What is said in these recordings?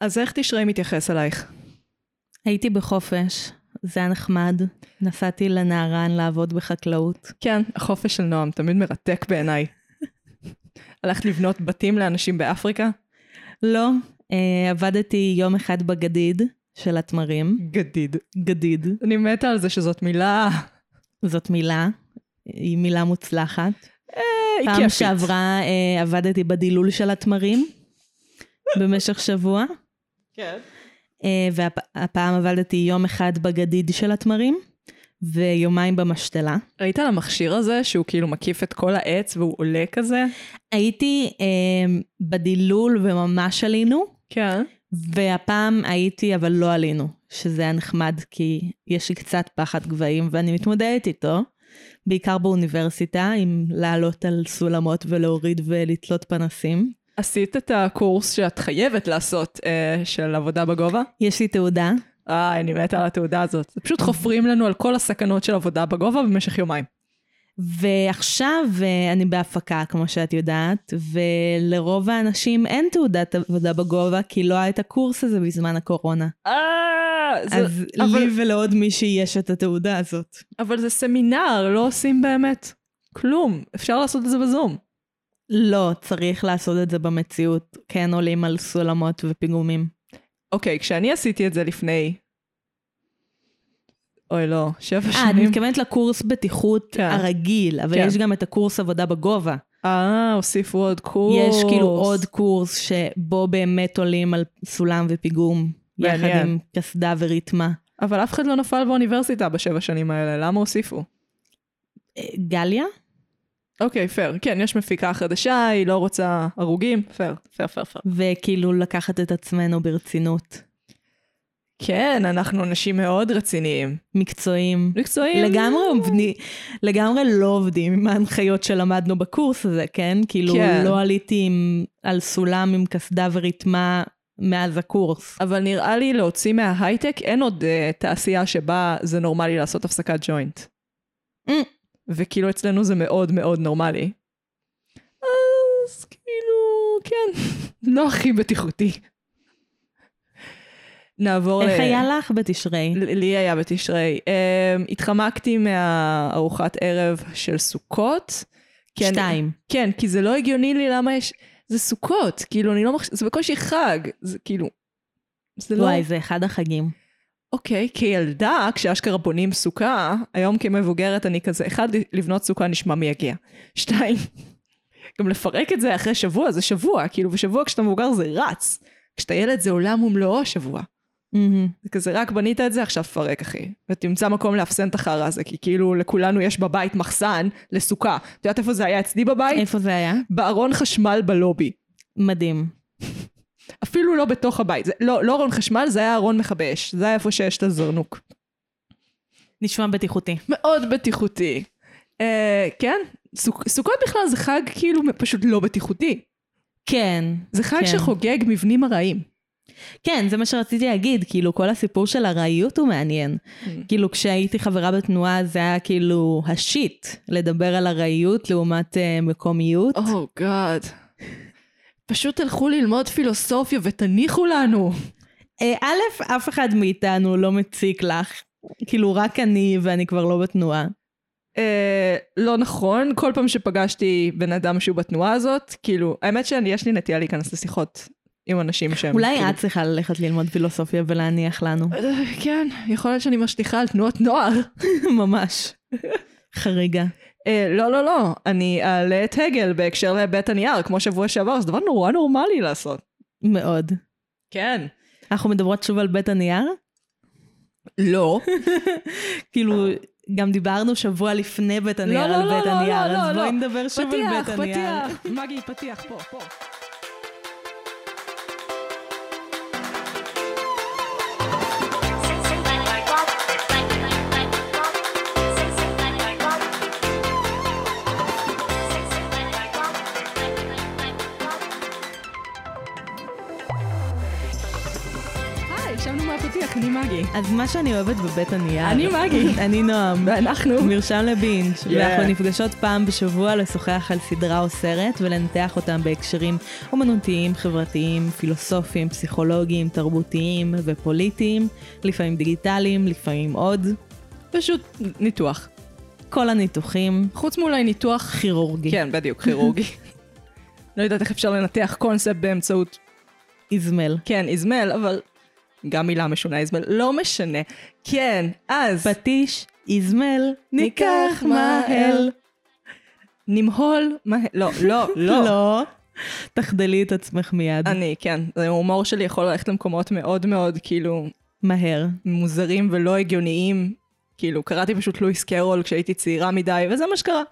אז איך תשרי מתייחס אלייך? הייתי בחופש, זה היה נחמד. נסעתי לנהרן לעבוד בחקלאות. כן, החופש של נועם תמיד מרתק בעיניי. הלכת לבנות בתים לאנשים באפריקה? לא, אה, עבדתי יום אחד בגדיד של התמרים. גדיד. גדיד. אני מתה על זה שזאת מילה... זאת מילה, היא מילה מוצלחת. אה, היא פעם כיפית. שעברה אה, עבדתי בדילול של התמרים במשך שבוע, כן. אה, והפעם עבדתי יום אחד בגדיד של התמרים, ויומיים במשתלה. ראית על המכשיר הזה שהוא כאילו מקיף את כל העץ והוא עולה כזה? הייתי אה, בדילול וממש עלינו, כן. והפעם הייתי אבל לא עלינו, שזה היה נחמד כי יש לי קצת פחד גבהים ואני מתמודדת איתו, בעיקר באוניברסיטה, עם לעלות על סולמות ולהוריד ולתלות פנסים. עשית את הקורס שאת חייבת לעשות אה, של עבודה בגובה? יש לי תעודה, אה, אני מתה על התעודה הזאת. זה פשוט חופרים לנו על כל הסכנות של עבודה בגובה במשך יומיים. ועכשיו אה, אני בהפקה, כמו שאת יודעת, ולרוב האנשים אין תעודת עבודה בגובה, כי לא היה את הקורס הזה בזמן הקורונה. אה, זה, אז אבל- לי ולעוד מישהי יש את התעודה הזאת. אבל זה סמינר, לא עושים באמת כלום. אפשר לעשות את זה בזום. לא, צריך לעשות את זה במציאות. כן עולים על סולמות ופיגומים. אוקיי, כשאני עשיתי את זה לפני... אוי, לא, שבע אה, את שנים. מתכוונת לקורס בטיחות כן. הרגיל, אבל כן. יש גם את הקורס עבודה בגובה. אה, הוסיפו עוד קורס. יש כאילו עוד קורס שבו באמת עולים על סולם ופיגום, יחד מעניין. עם קסדה וריתמה. אבל אף אחד לא נפל באוניברסיטה בשבע שנים האלה, למה הוסיפו? אה, גליה? אוקיי, פייר. כן, יש מפיקה חדשה, היא לא רוצה הרוגים. פייר, פייר, פייר, פייר. וכאילו לקחת את עצמנו ברצינות. כן, אנחנו אנשים מאוד רציניים. מקצועיים. מקצועיים. לגמרי, עובדי- לגמרי לא עובדים עם ההנחיות שלמדנו בקורס הזה, כן? כאילו, כן. לא עליתי עם, על סולם עם קסדה וריתמה מאז הקורס. אבל נראה לי להוציא מההייטק, אין עוד uh, תעשייה שבה זה נורמלי לעשות הפסקת ג'וינט. Mm. וכאילו אצלנו זה מאוד מאוד נורמלי. אז כאילו, כן, לא הכי בטיחותי. נעבור איך היה לך בתשרי? ל- לי היה בתשרי. Um, התחמקתי מהארוחת ערב של סוכות. כי אני- שתיים. כן, כי זה לא הגיוני לי למה יש... זה סוכות, כאילו, אני לא מחש... זה בקושי חג, זה כאילו... זה לא... וואי, זה אחד החגים. אוקיי, כילדה, כשאשכרה בונים סוכה, היום כמבוגרת אני כזה, אחד, לבנות סוכה נשמע מי יגיע. שתיים, גם לפרק את זה אחרי שבוע, זה שבוע, כאילו, ושבוע כשאתה מבוגר זה רץ. כשאתה ילד זה עולם ומלואו השבוע. מהמם. זה כזה, רק בנית את זה, עכשיו תפרק, אחי. ותמצא מקום לאפסן את החרא הזה, כי כאילו, לכולנו יש בבית מחסן לסוכה. את יודעת איפה זה היה אצלי בבית? איפה זה היה? בארון חשמל בלובי. מדהים. אפילו לא בתוך הבית. זה, לא, לא ארון חשמל, זה היה ארון מכבה אש. זה היה איפה שיש את הזרנוק. נשמע בטיחותי. מאוד בטיחותי. אה, כן, סוכ, סוכות בכלל זה חג כאילו פשוט לא בטיחותי. כן. זה חג כן. שחוגג מבנים ארעיים. כן, זה מה שרציתי להגיד, כאילו, כל הסיפור של ארעיות הוא מעניין. כאילו, כשהייתי חברה בתנועה, זה היה כאילו השיט, לדבר על ארעיות לעומת אה, מקומיות. או oh גאד. פשוט תלכו ללמוד פילוסופיה ותניחו לנו. אה, א', אף אחד מאיתנו לא מציק לך. כאילו, רק אני, ואני כבר לא בתנועה. אה, לא נכון, כל פעם שפגשתי בן אדם שהוא בתנועה הזאת, כאילו, האמת שיש לי נטייה להיכנס לשיחות עם אנשים שהם... אולי כאילו, את צריכה ללכת ללמוד פילוסופיה ולהניח לנו. אה, כן, יכול להיות שאני משליכה על תנועות נוער. ממש. חריגה. אה, לא, לא, לא, אני אעלה את הגל בהקשר לבית הנייר, כמו שבוע שעבר, זה דבר נורא נורמלי לעשות. מאוד. כן. אנחנו מדברות שוב על בית הנייר? לא. כאילו, גם דיברנו שבוע לפני בית הנייר לא, על לא, בית לא, הנייר, לא, אז לא, בואי לא. נדבר שוב על פתיח, בית הנייר. פתיח. מגי, פתיח, פה, פה. היי, ישבנו מהפתיח, אני מגי. אז מה שאני אוהבת בבית הנייר... אני מגי. אני נועם. ואנחנו... מרשם לבינג', yeah. ואנחנו נפגשות פעם בשבוע לשוחח על סדרה או סרט ולנתח אותם בהקשרים אומנותיים, חברתיים, פילוסופיים, פסיכולוגיים, תרבותיים ופוליטיים, לפעמים דיגיטליים, לפעמים עוד. פשוט ניתוח. כל הניתוחים, חוץ מאולי ניתוח... כירורגי. כן, בדיוק, כירורגי. לא יודעת איך אפשר לנתח קונספט באמצעות, איזמל. כן, איזמל, אבל... גם מילה משונה, איזמל. לא משנה. כן, אז... פטיש, איזמל, ניקח מהר. נמהול מהר. לא, לא, לא. לא. תחדלי את עצמך מיד. אני, כן. ההומור שלי יכול ללכת למקומות מאוד מאוד, כאילו, מהר. מוזרים ולא הגיוניים. כאילו, קראתי פשוט לואיס קרול כשהייתי צעירה מדי, וזה מה שקרה.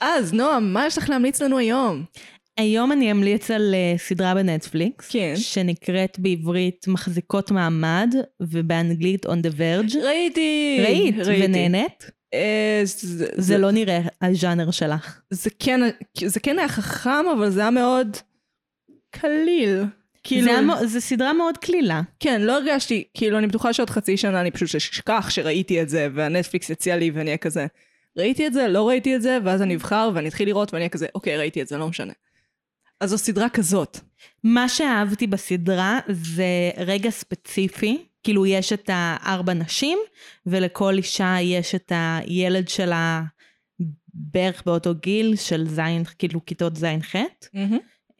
אז, נועם, מה יש לך להמליץ לנו היום? היום אני אמליץ על אה, סדרה בנטפליקס, כן. שנקראת בעברית מחזיקות מעמד, ובאנגלית On the Verge. ראיתי! ראית ונהנית? אה, זה, זה לא נראה הז'אנר שלך. זה כן, זה כן היה חכם, אבל זה היה מאוד קליל. כאילו, זה היה מאו- זה סדרה מאוד קלילה. כן, לא הרגשתי, כאילו, אני בטוחה שעוד חצי שנה אני פשוט אשכח שראיתי את זה, והנטפליקס יציע לי ואני אהיה כזה, ראיתי את זה, לא ראיתי את זה, ואז אני אבחר ואני אתחיל לראות ואני אהיה כזה, אוקיי, ראיתי את זה, לא משנה. אז זו סדרה כזאת. מה שאהבתי בסדרה זה רגע ספציפי, כאילו יש את הארבע נשים, ולכל אישה יש את הילד שלה בערך באותו גיל של זין, כאילו כיתות זין ח'.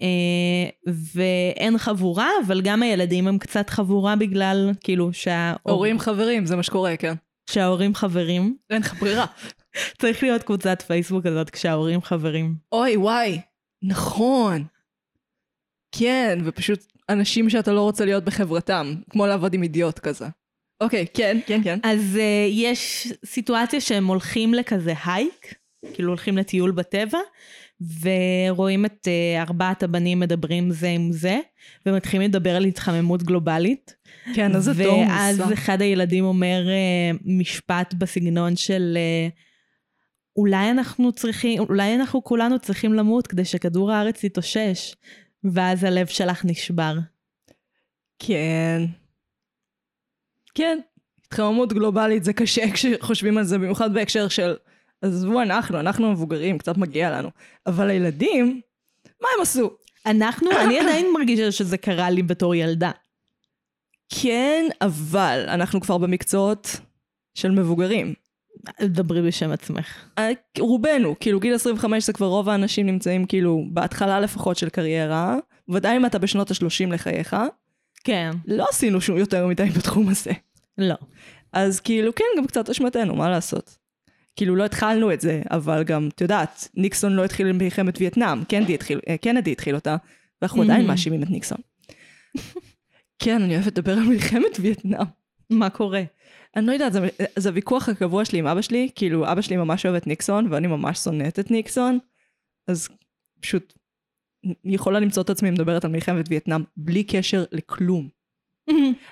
אה, ואין חבורה, אבל גם הילדים הם קצת חבורה בגלל, כאילו, שההור... הורים חברים, זה מה שקורה, כן. שההורים חברים. אין לך ברירה. צריך להיות קבוצת פייסבוק כזאת כשההורים חברים. אוי, וואי, נכון. כן, ופשוט אנשים שאתה לא רוצה להיות בחברתם, כמו לעבוד עם אידיוט כזה. אוקיי, כן, כן, כן. אז uh, יש סיטואציה שהם הולכים לכזה הייק, כאילו הולכים לטיול בטבע, ורואים את uh, ארבעת הבנים מדברים זה עם זה, ומתחילים לדבר על התחממות גלובלית. כן, אז זה תור ואז מוסר. אחד הילדים אומר uh, משפט בסגנון של uh, אולי אנחנו צריכים, אולי אנחנו כולנו צריכים למות כדי שכדור הארץ יתאושש, ואז הלב שלך נשבר. כן. כן, התחממות גלובלית זה קשה כשחושבים על זה, במיוחד בהקשר של, עזבו אנחנו, אנחנו מבוגרים, קצת מגיע לנו. אבל הילדים, מה הם עשו? אנחנו, אני עדיין מרגישה שזה קרה לי בתור ילדה. כן, אבל אנחנו כבר במקצועות של מבוגרים. דברי בשם עצמך. אה, רובנו, כאילו גיל 25 זה כבר רוב האנשים נמצאים כאילו בהתחלה לפחות של קריירה, ודאי אם אתה בשנות ה-30 לחייך, כן. לא עשינו שום יותר מדי בתחום הזה. לא. אז כאילו כן, גם קצת אשמתנו, מה לעשות? כאילו לא התחלנו את זה, אבל גם, את יודעת, ניקסון לא התחיל במלחמת וייטנאם, קנדי התחיל, אה, קנדי התחיל אותה, ואנחנו עדיין Mhm. מאשימים את ניקסון. כן, אני אוהבת לדבר על מלחמת וייטנאם. מה קורה? אני לא יודעת, זה, זה הוויכוח הקבוע שלי עם אבא שלי, כאילו אבא שלי ממש אוהב את ניקסון ואני ממש שונאת את ניקסון, אז פשוט אני יכולה למצוא את עצמי מדברת על מלחמת וייטנאם בלי קשר לכלום.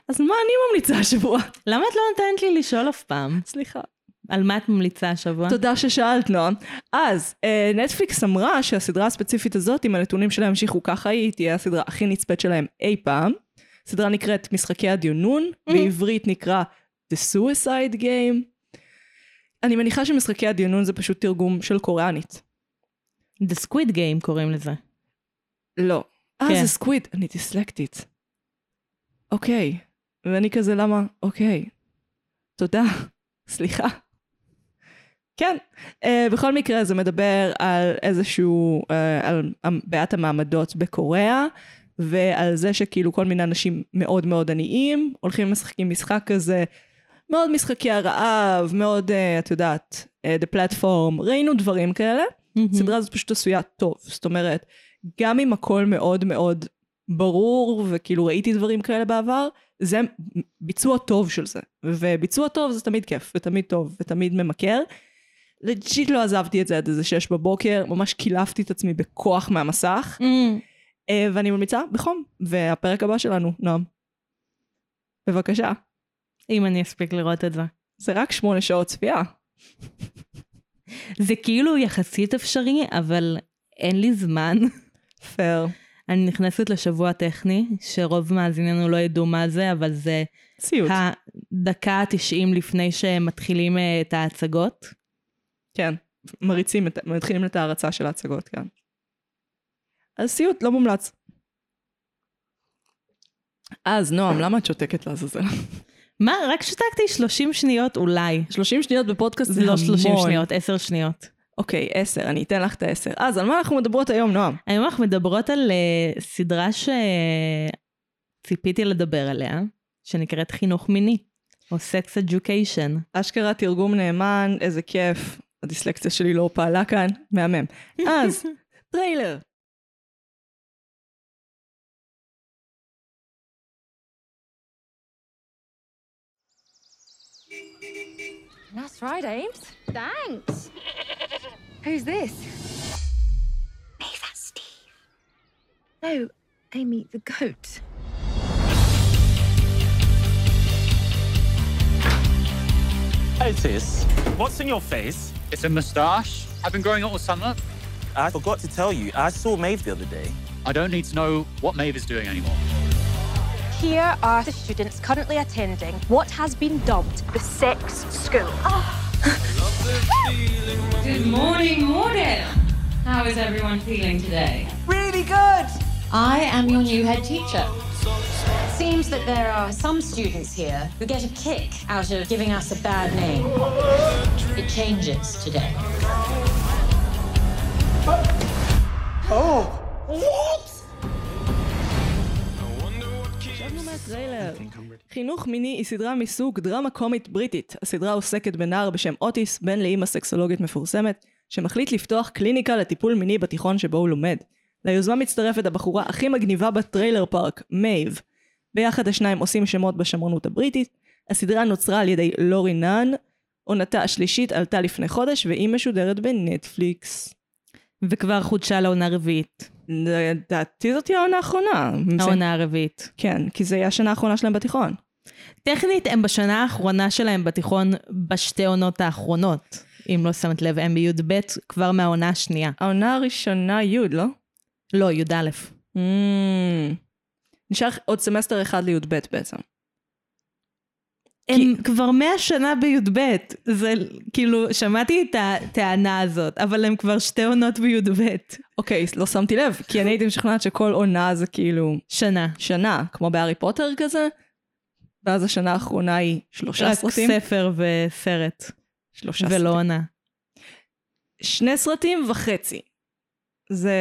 אז מה אני ממליצה השבוע? למה את לא נותנת לי לשאול אף פעם? סליחה. על מה את ממליצה השבוע? תודה ששאלת, נועם. אז, אה, נטפליקס אמרה שהסדרה הספציפית הזאת, אם הנתונים שלה ימשיכו ככה, היא תהיה הסדרה הכי נצפית שלהם אי פעם. הסדרה נקראת משחקי הדיונון, בעברית נקרא The Suicide Game. אני מניחה שמשחקי הדיונון זה פשוט תרגום של קוריאנית. The Squid Game קוראים לזה. לא. אה, כן. זה סקוויד. אני דיסלקטית. אוקיי. ואני כזה, למה? אוקיי. תודה. סליחה. כן. Uh, בכל מקרה, זה מדבר על איזשהו, uh, על המ- בעיית המעמדות בקוריאה, ועל זה שכאילו כל מיני אנשים מאוד מאוד עניים, הולכים ומשחקים משחק כזה, מאוד משחקי הרעב, מאוד, uh, את יודעת, uh, The Platform, ראינו דברים כאלה. הסדרה הזאת פשוט עשויה טוב. זאת אומרת, גם אם הכל מאוד מאוד ברור, וכאילו ראיתי דברים כאלה בעבר, זה ביצוע טוב של זה. וביצוע טוב זה תמיד כיף, ותמיד טוב, ותמיד ממכר. לג'יט לא עזבתי את זה עד איזה שש בבוקר, ממש קילפתי את עצמי בכוח מהמסך, מהמם. אה, ואני ממליצה בחום. והפרק הבא שלנו, נועם. בבקשה. אם אני אספיק לראות את זה. זה רק שמונה שעות צפייה. זה כאילו יחסית אפשרי, אבל אין לי זמן. פייר. אני נכנסת לשבוע טכני, שרוב מאזיננו לא ידעו מה זה, אבל זה ציוד. הדקה ה-90 לפני שמתחילים אה, את ההצגות. כן, מריצים, את- מתחילים את ההרצה של ההצגות, כן. אז סיוט, לא מומלץ. אז נועם, למה את שותקת לעזאזל? מה, רק שתקתי 30 שניות אולי. 30 שניות בפודקאסט זה לא 30 שניות, 10 שניות. אוקיי, 10, אני אתן לך את ה-10. אז על מה אנחנו מדברות היום, נועם? היום אנחנו מדברות על אה, סדרה שציפיתי לדבר עליה, שנקראת חינוך מיני, או סקס אדיוקיישן. אשכרה תרגום נאמן, איזה כיף. הדיסלקציה שלי לא פעלה כאן, מהמם. אז, טריילר. That's right, Ames. Thanks. Who's this? Hey, that's Steve. No, Amy, the goat. How's this? What's in your face? It's a moustache. I've been growing it all summer. I forgot to tell you, I saw Maeve the other day. I don't need to know what Maeve is doing anymore. Here are the students currently attending what has been dubbed the sex school. Oh. Good morning, morning. How is everyone feeling today? I am your new head teacher. Seems that there are some students here who get a kick out of giving us a bad name. It changes today. חינוך מיני היא סדרה מסוג דרמה קומית בריטית. הסדרה עוסקת בנער בשם אוטיס, בן לאימא סקסולוגית מפורסמת, שמחליט לפתוח קליניקה לטיפול מיני בתיכון שבו הוא לומד. ליוזמה מצטרפת הבחורה הכי מגניבה בטריילר פארק, מייב. ביחד השניים עושים שמות בשמרנות הבריטית. הסדרה נוצרה על ידי לורי נאן, עונתה השלישית עלתה לפני חודש והיא משודרת בנטפליקס. וכבר חודשה לעונה רביעית. לדעתי זאתי העונה האחרונה. העונה הרביעית. כן, כי זה היה השנה האחרונה שלהם בתיכון. טכנית, הם בשנה האחרונה שלהם בתיכון, בשתי עונות האחרונות. אם לא שמת לב, הם בי"ב כבר מהעונה השנייה. העונה הראשונה י', לא? לא, י"א. Mm. נשאר עוד סמסטר אחד לי"ב בעצם. הם כבר מאה שנה בי"ב. זה כאילו, שמעתי את הטענה הזאת, אבל הם כבר שתי עונות בי"ב. אוקיי, לא שמתי לב, כי אני הייתי משכנעת שכל עונה זה כאילו שנה. שנה, כמו בהארי פוטר כזה, ואז השנה האחרונה היא שלושה רק סרטים. ספר וסרט, שלושה ולא סרטים. עונה. שני סרטים וחצי. זה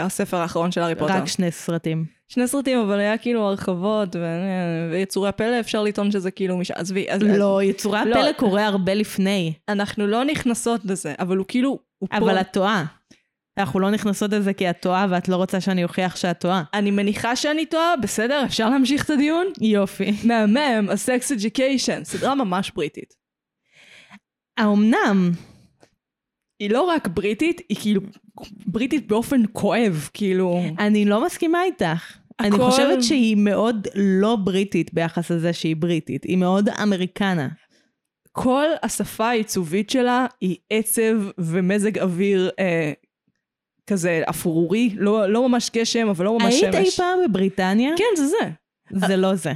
הספר האחרון של הארי פוטר. רק שני סרטים. שני סרטים, אבל היה כאילו הרחבות, ו- ויצורי הפלא, אפשר לטעון שזה כאילו מש... עזבי, אז... לא, יצורי לא. הפלא קורה הרבה לפני, אנחנו לא נכנסות לזה, אבל הוא כאילו... הוא פה. אבל את טועה. אנחנו לא נכנסות לזה כי את טועה, ואת לא רוצה שאני אוכיח שאת טועה. אני מניחה שאני טועה, בסדר? אפשר להמשיך את הדיון? יופי. מהמם, A Sex Education, סדרה ממש בריטית. האומנם? היא לא רק בריטית, היא כאילו בריטית באופן כואב, כאילו... אני לא מסכימה איתך. אני הכל- חושבת שהיא מאוד לא בריטית ביחס לזה שהיא בריטית. היא מאוד אמריקנה. כל השפה העיצובית שלה היא עצב ומזג אוויר אה, כזה אפרורי, לא, לא ממש גשם, אבל לא ממש שמש. היית אי פעם בבריטניה? כן, זה זה. זה לא זה.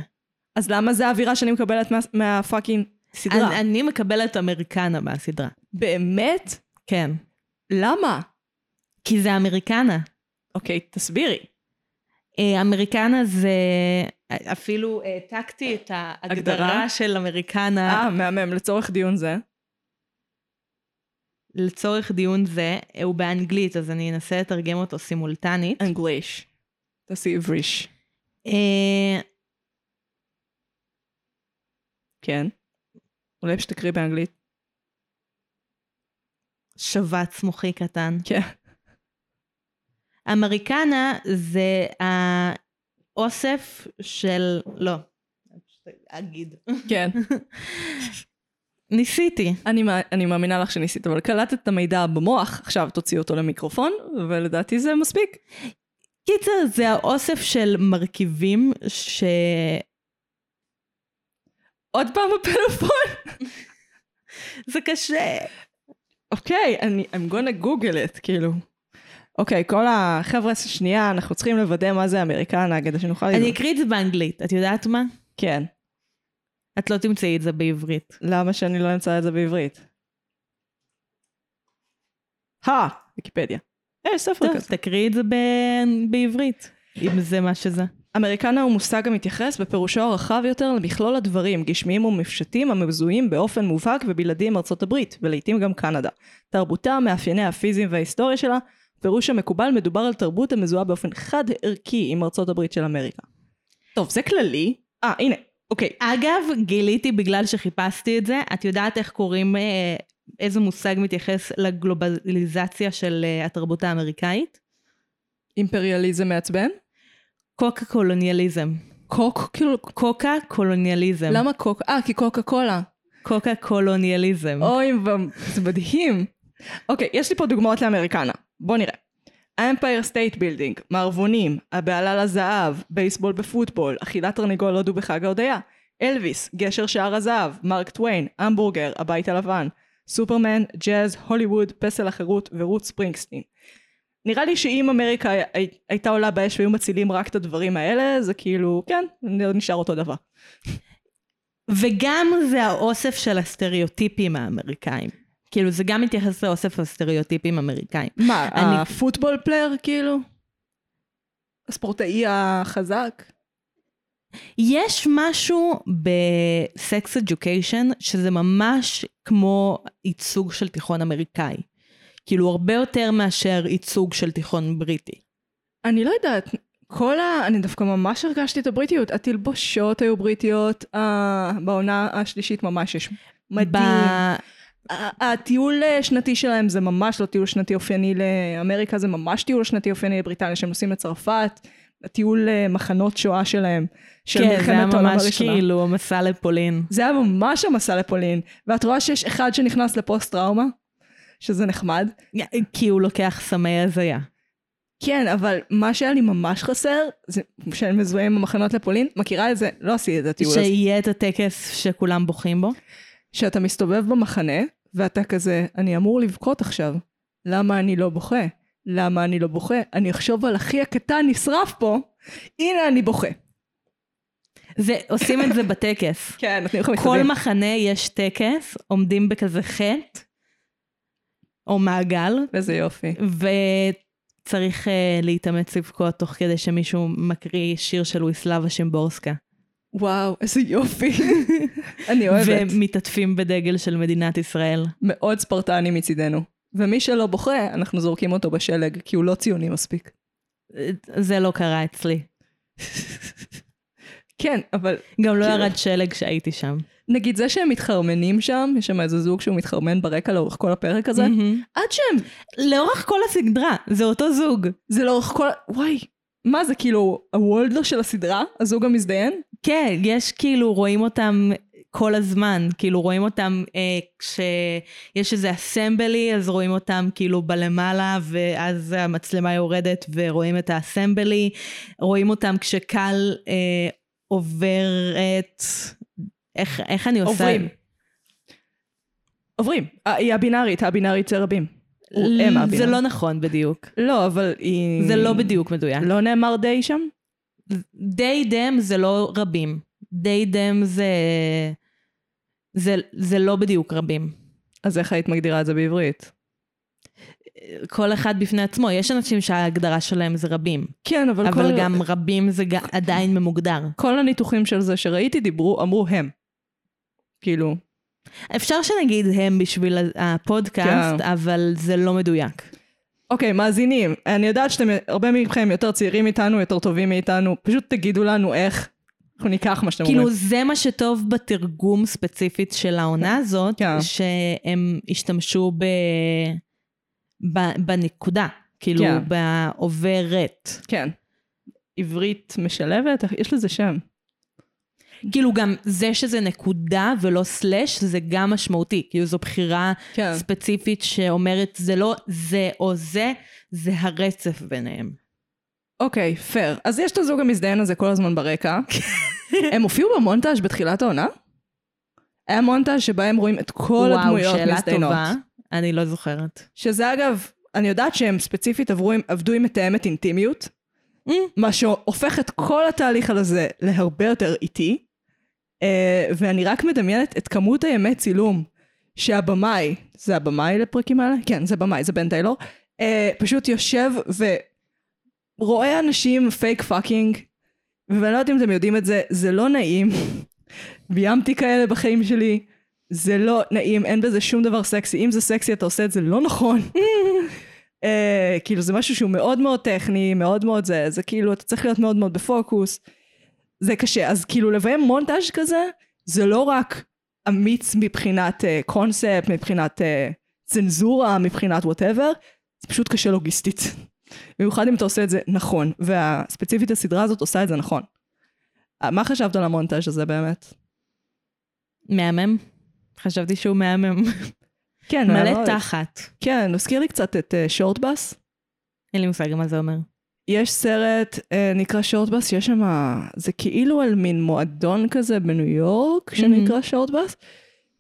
אז למה זה האווירה שאני מקבלת מה, מהפאקינג סדרה? אני- אני מקבלת אמריקנה מהסדרה. באמת? כן. למה? כי זה אמריקנה. אוקיי, תסבירי. אה, אמריקנה זה... אפילו אה, העתקתי את ההגדרה הגדרה? של אמריקנה אה, מהמם, לצורך דיון זה. לצורך דיון זה, אה, הוא באנגלית, אז אני אנסה לתרגם אותו סימולטנית. אנגליש. תעשי עבריש. אה, כן. אולי פשוט תקריא באנגלית. שבץ מוחי קטן. כן. אמריקנה זה האוסף של... לא, אני פשוט אגיד. כן. ניסיתי. אני, מא- אני מאמינה לך שניסית, אבל קלטת את המידע במוח, עכשיו תוציאי אותו למיקרופון, ולדעתי זה מספיק. קיצר, זה האוסף של מרכיבים ש... עוד פעם בפלאפון? זה קשה. אוקיי, אני, I'm gonna google it, כאילו. אוקיי, כל החבר'ה, שנייה, אנחנו צריכים לוודא מה זה אמריקנה כדי שנוכל... אני לראות. אקריא את זה באנגלית, את יודעת מה? כן. את לא תמצאי את זה בעברית. למה שאני לא אמצא את זה בעברית? הא, ויקיפדיה. אה, יש ספר טוב, כזה. תקריאי את זה ב- בעברית, אם זה מה שזה. אמריקנה הוא מושג המתייחס בפירושו הרחב יותר למכלול הדברים, גשמיים ומפשטים המזוהים באופן מובהק ובלעדי עם ארצות הברית, ולעיתים גם קנדה. תרבותה, מאפייניה הפיזיים וההיסטוריה שלה, פירוש המקובל מדובר על תרבות המזוהה באופן חד ערכי עם ארצות הברית של אמריקה. טוב, זה כללי. אה, הנה, אוקיי. אגב, גיליתי בגלל שחיפשתי את זה, את יודעת איך קוראים, אה, איזה מושג מתייחס לגלובליזציה של אה, התרבות האמריקאית? אימפריאליזם מעצבן? קוקה קולוניאליזם. קוק, כאילו, קוקה קולוניאליזם. למה קוק? אה, כי קוקה קולה. קוקה קולוניאליזם. אוי, ו- זה מדהים. אוקיי, יש לי פה דוגמאות לאמריקנה. בוא נראה. אמפייר סטייט בילדינג, מערבונים, הבעלה לזהב, בייסבול בפוטבול, אכילת תרנגול הודו בחג ההודיה, אלוויס, גשר שער הזהב, מרק טוויין, המבורגר, הבית הלבן, סופרמן, ג'אז, הוליווד, פסל החירות ורות ספרינגסטין. נראה לי שאם אמריקה הי- הייתה עולה באש והיו מצילים רק את הדברים האלה, זה כאילו, כן, נשאר אותו דבר. וגם זה האוסף של הסטריאוטיפים האמריקאים. כאילו זה גם מתייחס לאוסף הסטריאוטיפים האמריקאים. מה, אני- הפוטבול פלייר כאילו? הספורטאי החזק? יש משהו בסקס אדיוקיישן שזה ממש כמו ייצוג של תיכון אמריקאי. כאילו הרבה יותר מאשר ייצוג של תיכון בריטי. אני לא יודעת, כל ה... אני דווקא ממש הרגשתי את הבריטיות. התלבושות היו בריטיות, אה, בעונה השלישית ממש יש מדהים. ב- ה- הטיול אה, שנתי שלהם זה ממש לא טיול שנתי אופייני לאמריקה, זה ממש טיול שנתי אופייני לבריטניה, שהם נוסעים לצרפת, הטיול אה, מחנות שואה שלהם, של כן, זה היה מלחמת העולם ממש הראשונה. כאילו המסע לפולין. זה היה ממש המסע לפולין, ואת רואה שיש אחד שנכנס לפוסט טראומה, שזה נחמד. כי הוא לוקח סמי הזיה. כן, אבל מה שהיה לי ממש חסר, זה שאני מזוהה עם המחנות לפולין, מכירה את זה, לא עשיתי את הטיול הזה, שיהיה את הטקס שכולם בוכים בו. שאתה מסתובב במחנה, ואתה כזה, אני אמור לבכות עכשיו, למה אני לא בוכה? למה אני לא בוכה? אני אחשוב על אחי הקטן נשרף פה, הנה אני בוכה. זה, עושים את זה בטקס. כן, נותנים לך כל מכתבים. מחנה יש טקס, עומדים בכזה חטא, או מעגל, איזה יופי. וצריך uh, להתאמץ לבכות תוך כדי שמישהו מקריא שיר של ויסלבה שימבורסקה. וואו, איזה יופי. אני אוהבת. ומתעטפים בדגל של מדינת ישראל. מאוד ספרטני מצידנו. ומי שלא בוכה, אנחנו זורקים אותו בשלג, כי הוא לא ציוני מספיק. זה לא קרה אצלי. כן, אבל גם לא כאילו. ירד שלג כשהייתי שם. נגיד זה שהם מתחרמנים שם, יש שם איזה זוג שהוא מתחרמן ברקע לאורך כל הפרק הזה, מהמם. עד שהם, לאורך כל הסדרה, זה אותו זוג. זה לאורך כל, וואי, מה זה כאילו הוולדו של הסדרה, הזוג המזדיין? כן, יש כאילו, רואים אותם כל הזמן, כאילו רואים אותם אה, כשיש איזה אסמבלי, אז רואים אותם כאילו בלמעלה, ואז המצלמה יורדת ורואים את האסמבלי, רואים אותם כשקל אה, עוברת, איך, איך אני עושה? עוברים. עוברים. אה, היא הבינארית, הבינארית זה רבים. הוא- ל- הם זה הבינארית. לא נכון בדיוק. לא, אבל היא... זה לא בדיוק מדויק. לא נאמר די שם? די דם זה לא רבים. די דם זה... זה, זה לא בדיוק רבים. אז איך היית מגדירה את זה בעברית? כל אחד בפני עצמו. יש אנשים שההגדרה שלהם זה רבים, כן, אבל, אבל כל... גם רבים זה ג- עדיין ממוגדר. כל הניתוחים של זה שראיתי דיברו, אמרו הם. כאילו, אפשר שנגיד הם בשביל ה- הפודקאסט, כן. אבל זה לא מדויק. אוקיי, מאזינים, אני יודעת שאתם, הרבה מכם יותר צעירים מאיתנו, יותר טובים מאיתנו, פשוט תגידו לנו איך, אנחנו ניקח מה שאתם כאילו אומרים. זה מה שטוב בתרגום ספציפית של העונה הזאת, כן. שהם השתמשו ב... ב... בנקודה, כאילו כן. בעוברת. כן. עברית משלבת, יש לזה שם. כאילו גם זה שזה נקודה ולא סלאש, זה גם משמעותי. כאילו זו בחירה כן. ספציפית שאומרת זה לא זה או זה, זה הרצף ביניהם. אוקיי, פייר. אז יש את הזוג המזדיין הזה כל הזמן ברקע. הם הופיעו במונטאז' בתחילת העונה? היה מונטאז' שבה הם רואים את כל הדמויות וואו, שאלה מזדיינות. טובה. אני לא זוכרת. שזה אגב, אני יודעת שהם ספציפית עברו עם, עבדו עם מתאמת אינטימיות, מה שהופך את כל התהליך הזה להרבה יותר איטי, אה, ואני רק מדמיינת את כמות הימי צילום שהבמאי, זה הבמאי לפרקים האלה? כן, זה במאי, זה בן טיילור, אה, פשוט יושב ורואה אנשים פייק פאקינג, ואני לא יודעת אם אתם יודעים את זה, זה לא נעים. ביימתי כאלה בחיים שלי, זה לא נעים, אין בזה שום דבר סקסי. אם זה סקסי אתה עושה את זה לא נכון. אה, כאילו זה משהו שהוא מאוד מאוד טכני, מאוד מאוד זה, זה כאילו אתה צריך להיות מאוד מאוד בפוקוס. זה קשה, אז כאילו לביים מונטאז' כזה, זה לא רק אמיץ מבחינת אה, קונספט, מבחינת אה, צנזורה, מבחינת וואטאבר, זה פשוט קשה לוגיסטית. במיוחד אם אתה עושה את זה נכון, וספציפית הסדרה הזאת עושה את זה נכון. אה, מה חשבת על המונטאז' הזה באמת? מהמם. חשבתי שהוא מהמם. כן, מלא תחת. כן, מזכיר לי קצת את שורטבאס. אין לי מושג מה זה אומר. יש סרט, אה, נקרא שורטבאס, שיש שם... זה כאילו על מין מועדון כזה בניו יורק, שנקרא שורטבאס,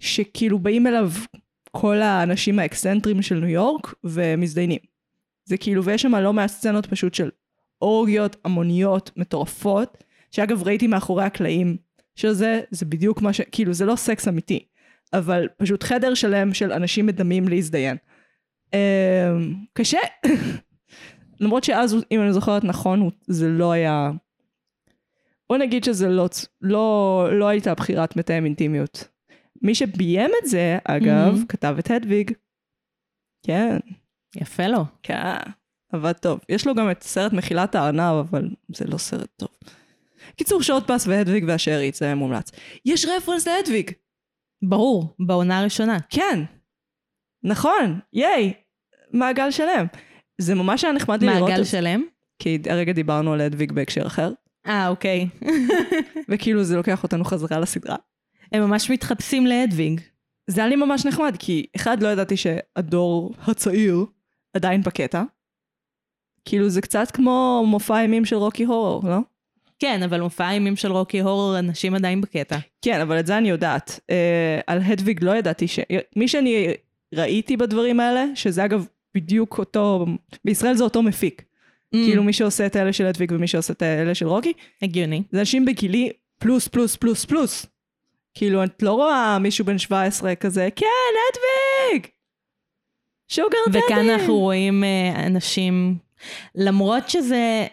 שכאילו באים אליו כל האנשים האקסצנטרים של ניו יורק, ומזדיינים. זה כאילו, ויש שם לא מעט סצנות פשוט של אורגיות המוניות מטורפות, שאגב ראיתי מאחורי הקלעים של זה, זה בדיוק מה ש... כאילו, זה לא סקס אמיתי, אבל פשוט חדר שלם של אנשים מדמים להזדיין. אה, קשה. למרות שאז, אם אני זוכרת נכון, הוא- זה לא היה... בוא נגיד שזה לא, צ- לא, לא הייתה בחירת מתאם אינטימיות. מי שביים את זה, אגב, מהמם. mm-hmm. כתב את הדוויג. כן. יפה לו. כן. עבד טוב. יש לו גם את סרט מחילת הארנב, אבל זה לא סרט טוב. קיצור, שעות פס והדוויג והשארית, זה מומלץ. יש רפרנס להדוויג! ברור, בעונה הראשונה. כן! נכון! ייי! מעגל שלם. זה ממש היה נחמד לי לראות... מעגל את- שלם? כי הרגע דיברנו על הדוויג בהקשר אחר, אה, אוקיי. וכאילו זה לוקח אותנו חזרה לסדרה. הם ממש מתחפשים לאדוויג. זה היה לי ממש נחמד, כי אחד, לא ידעתי שהדור הצעיר עדיין בקטע. כאילו זה קצת כמו מופע אימים של רוקי הורור, לא? כן, אבל מופע האימים של רוקי הורר, אנשים עדיין בקטע. כן, אבל את זה אני יודעת. אה, על הדוויג לא ידעתי ש... מי שאני ראיתי בדברים האלה, שזה אגב בדיוק אותו... בישראל זה אותו מפיק. כאילו מי שעושה את האלה של הדוויג ומי שעושה את האלה של רוקי, הגיוני. זה אנשים בגילי פלוס פלוס פלוס פלוס. כאילו, את לא רואה מישהו בן 17 כזה, כן, הדוויג! שוגר דדי! וכאן אנחנו רואים אה, אנשים, למרות שזה,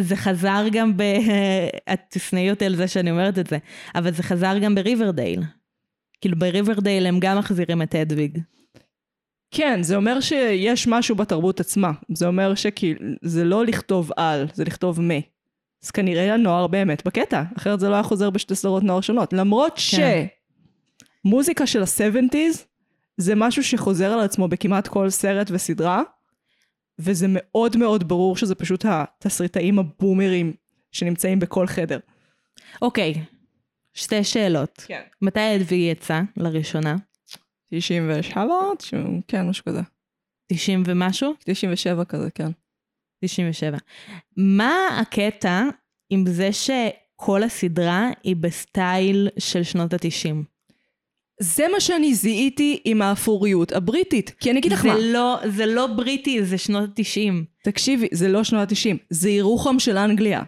זה חזר גם ב... אה, את תשנאי אותי על זה שאני אומרת את זה, אבל זה חזר גם בריברדייל. כאילו בריברדייל הם גם מחזירים את הדוויג. כן, זה אומר שיש משהו בתרבות עצמה. זה אומר שכאילו, זה לא לכתוב על, זה לכתוב מ. אז כנראה הנוער באמת בקטע, אחרת זה לא היה חוזר בשתי סדרות נוער שונות. למרות כן. שמוזיקה של ה-70's זה משהו שחוזר על עצמו בכמעט כל סרט וסדרה, וזה מאוד מאוד ברור שזה פשוט התסריטאים הבומרים שנמצאים בכל חדר. אוקיי, שתי שאלות. כן. מתי הדוויג יצא לראשונה? 97? תשעים- כן, משהו כזה. 90 ומשהו? 97 כזה, כן. 97. מה הקטע עם זה שכל הסדרה היא בסטייל של שנות ה-90? זה מה שאני זיהיתי עם האפוריות הבריטית. כי אני אגיד לך זה מה, לא, זה לא בריטי, זה שנות ה-90. תקשיבי, זה לא שנות ה-90, זה ירוחם של אנגליה.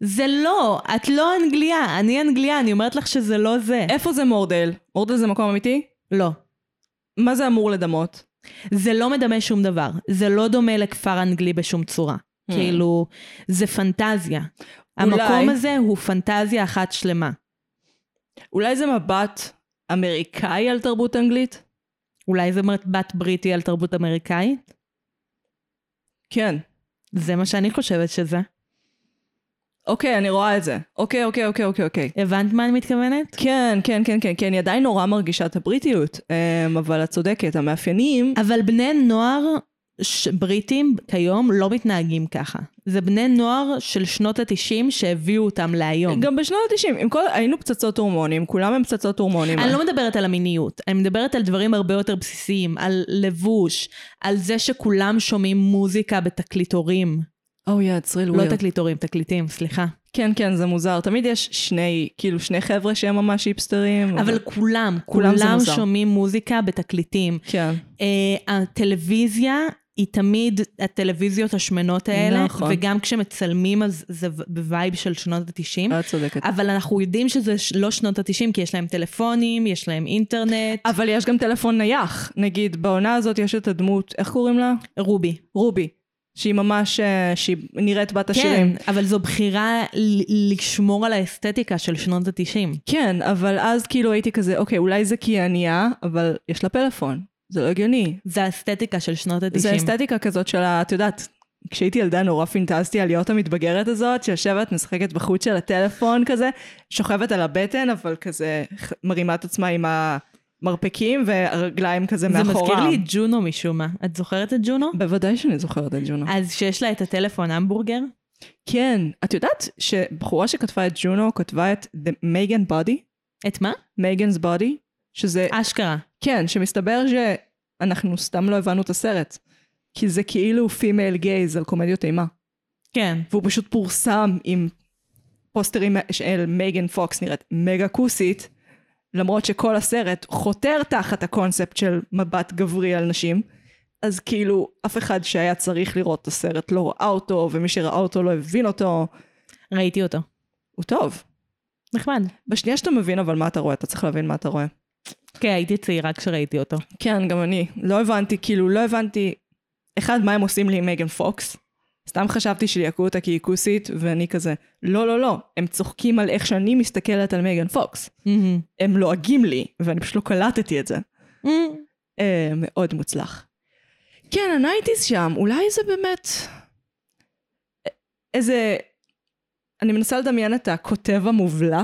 זה לא, את לא אנגליה, אני אנגליה, אני אומרת לך שזה לא זה. איפה זה מורדל? מורדל זה מקום אמיתי? לא. מה זה אמור לדמות? זה לא מדמה שום דבר. זה לא דומה לכפר אנגלי בשום צורה. כאילו, זה פנטזיה. אולי- המקום הזה הוא פנטזיה אחת שלמה. אולי זה מבט אמריקאי על תרבות אנגלית? אולי זה מבט בריטי על תרבות אמריקאית? כן. זה מה שאני חושבת שזה. אוקיי, אני רואה את זה. אוקיי, אוקיי, אוקיי, אוקיי, אוקיי. הבנת מה אני מתכוונת? כן, כן, כן, כן, כן, אני עדיין נורא מרגישה את הבריטיות, אמ, אבל את צודקת, המאפיינים... אבל בני נוער ש... בריטים כיום לא מתנהגים ככה. זה בני נוער של שנות התשעים שהביאו אותם להיום. גם בשנות ה-90, עם כל... היינו פצצות הורמונים, כולם הם פצצות הורמונים. אני לא מדברת על המיניות, אני מדברת על דברים הרבה יותר בסיסיים, על לבוש, על זה שכולם שומעים מוזיקה בתקליטורים. Oh yeah, it's real לא weird. תקליטורים, תקליטים, סליחה. כן, כן, זה מוזר. תמיד יש שני, כאילו, שני חבר'ה שהם ממש היפסטרים. אבל כולם, אוקיי. כולם זה כולם מוזר. שומעים מוזיקה בתקליטים. כן. אה, הטלוויזיה היא תמיד הטלוויזיות השמנות האלה, נכון. וגם כשמצלמים אז זה ו- בווייב של שנות ה-90. את צודקת. אבל אנחנו יודעים שזה ש- לא שנות ה-90, כי יש להם טלפונים, יש להם אינטרנט. אבל יש גם טלפון נייח. נגיד, בעונה הזאת יש את הדמות, איך קוראים לה? רובי. רובי. שהיא ממש, אה, שהיא נראית בת כן, השירים. אבל זו בחירה ל- לשמור על האסתטיקה של שנות ה-90. כן, אבל אז כאילו הייתי כזה, אוקיי, אולי זה כי היא ענייה, אבל יש לה פלאפון. זה לא הגיוני. זה האסתטיקה של שנות ה-90. זה אסתטיקה כזאת של ה... את יודעת, כשהייתי ילדה נורא פינטזתי על להיות המתבגרת הזאת, שיושבת, משחקת בחוץ של הטלפון כזה, שוכבת על הבטן, אבל כזה ח- מרימה את עצמה עם המרפקים והרגליים כזה זה מאחורה. מזכיר לי את ג'ונו משום מה. את זוכרת את ג'ונו? בוודאי שאני זוכרת את ג'ונו. אז שיש לה את הטלפון המבורגר? כן, את יודעת שבחורה שכתבה את ג'ונו כתבה את מייגן בודי, את מה? מייגנ's בודי, אה, שזה, אשכרה. כן, שמסתבר שאנחנו סתם לא הבנו את הסרט. כי זה כאילו פימייל גייז על קומדיות אימה. כן. והוא פשוט פורסם עם פוסטרים של מייגן פוקס נראית מגה כוסית, למרות שכל הסרט חותר תחת הקונספט של מבט גברי על נשים, אז כאילו אף אחד שהיה צריך לראות את הסרט לא ראה אותו, ומי שראה אותו לא הבין אותו, ראיתי אותו. הוא טוב. נחמד. בשנייה שאתה מבין אבל מה אתה רואה, אתה צריך להבין מה אתה רואה. כן, הייתי צעירה כשראיתי אותו. כן, גם אני. לא הבנתי, כאילו, לא הבנתי, אחד, מה הם עושים לי עם מייגן פוקס. סתם חשבתי שיעקו אותה כי היא כוסית, ואני כזה, לא, לא, לא, הם צוחקים על איך שאני מסתכלת על מייגן פוקס. Mm-hmm. הם לועגים לי, ואני פשוט לא קלטתי את זה. Mm-hmm. אה, מאוד מוצלח. כן, הנייטיז שם, אולי זה באמת... א- איזה... אני מנסה לדמיין את הכותב המובלע.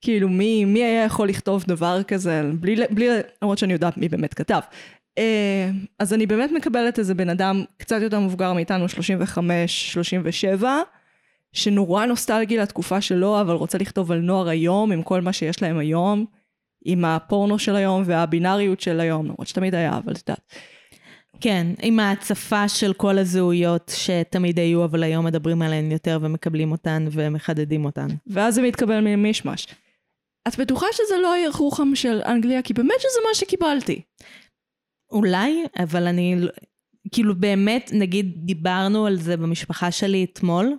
כאילו, מי, מי היה יכול לכתוב דבר כזה, בלי, ל- בלי, ל- למרות שאני יודעת מי באמת כתב. אה, אז אני באמת מקבלת איזה בן אדם קצת יותר מבוגר מאיתנו, 35-37, שנורא נוסטלגי לתקופה שלו, אבל רוצה לכתוב על נוער היום, עם כל מה שיש להם היום. עם הפורנו של היום והבינאריות של היום, למרות שתמיד היה, אבל את יודעת. כן, עם ההצפה של כל הזהויות שתמיד היו, אבל היום מדברים עליהן יותר ומקבלים אותן ומחדדים אותן. ואז זה מתקבל ממישמש. את בטוחה שזה לא היה רוחם של אנגליה? כי באמת שזה מה שקיבלתי. אולי, אבל אני... לא- כאילו באמת, נגיד, דיברנו על זה במשפחה שלי אתמול,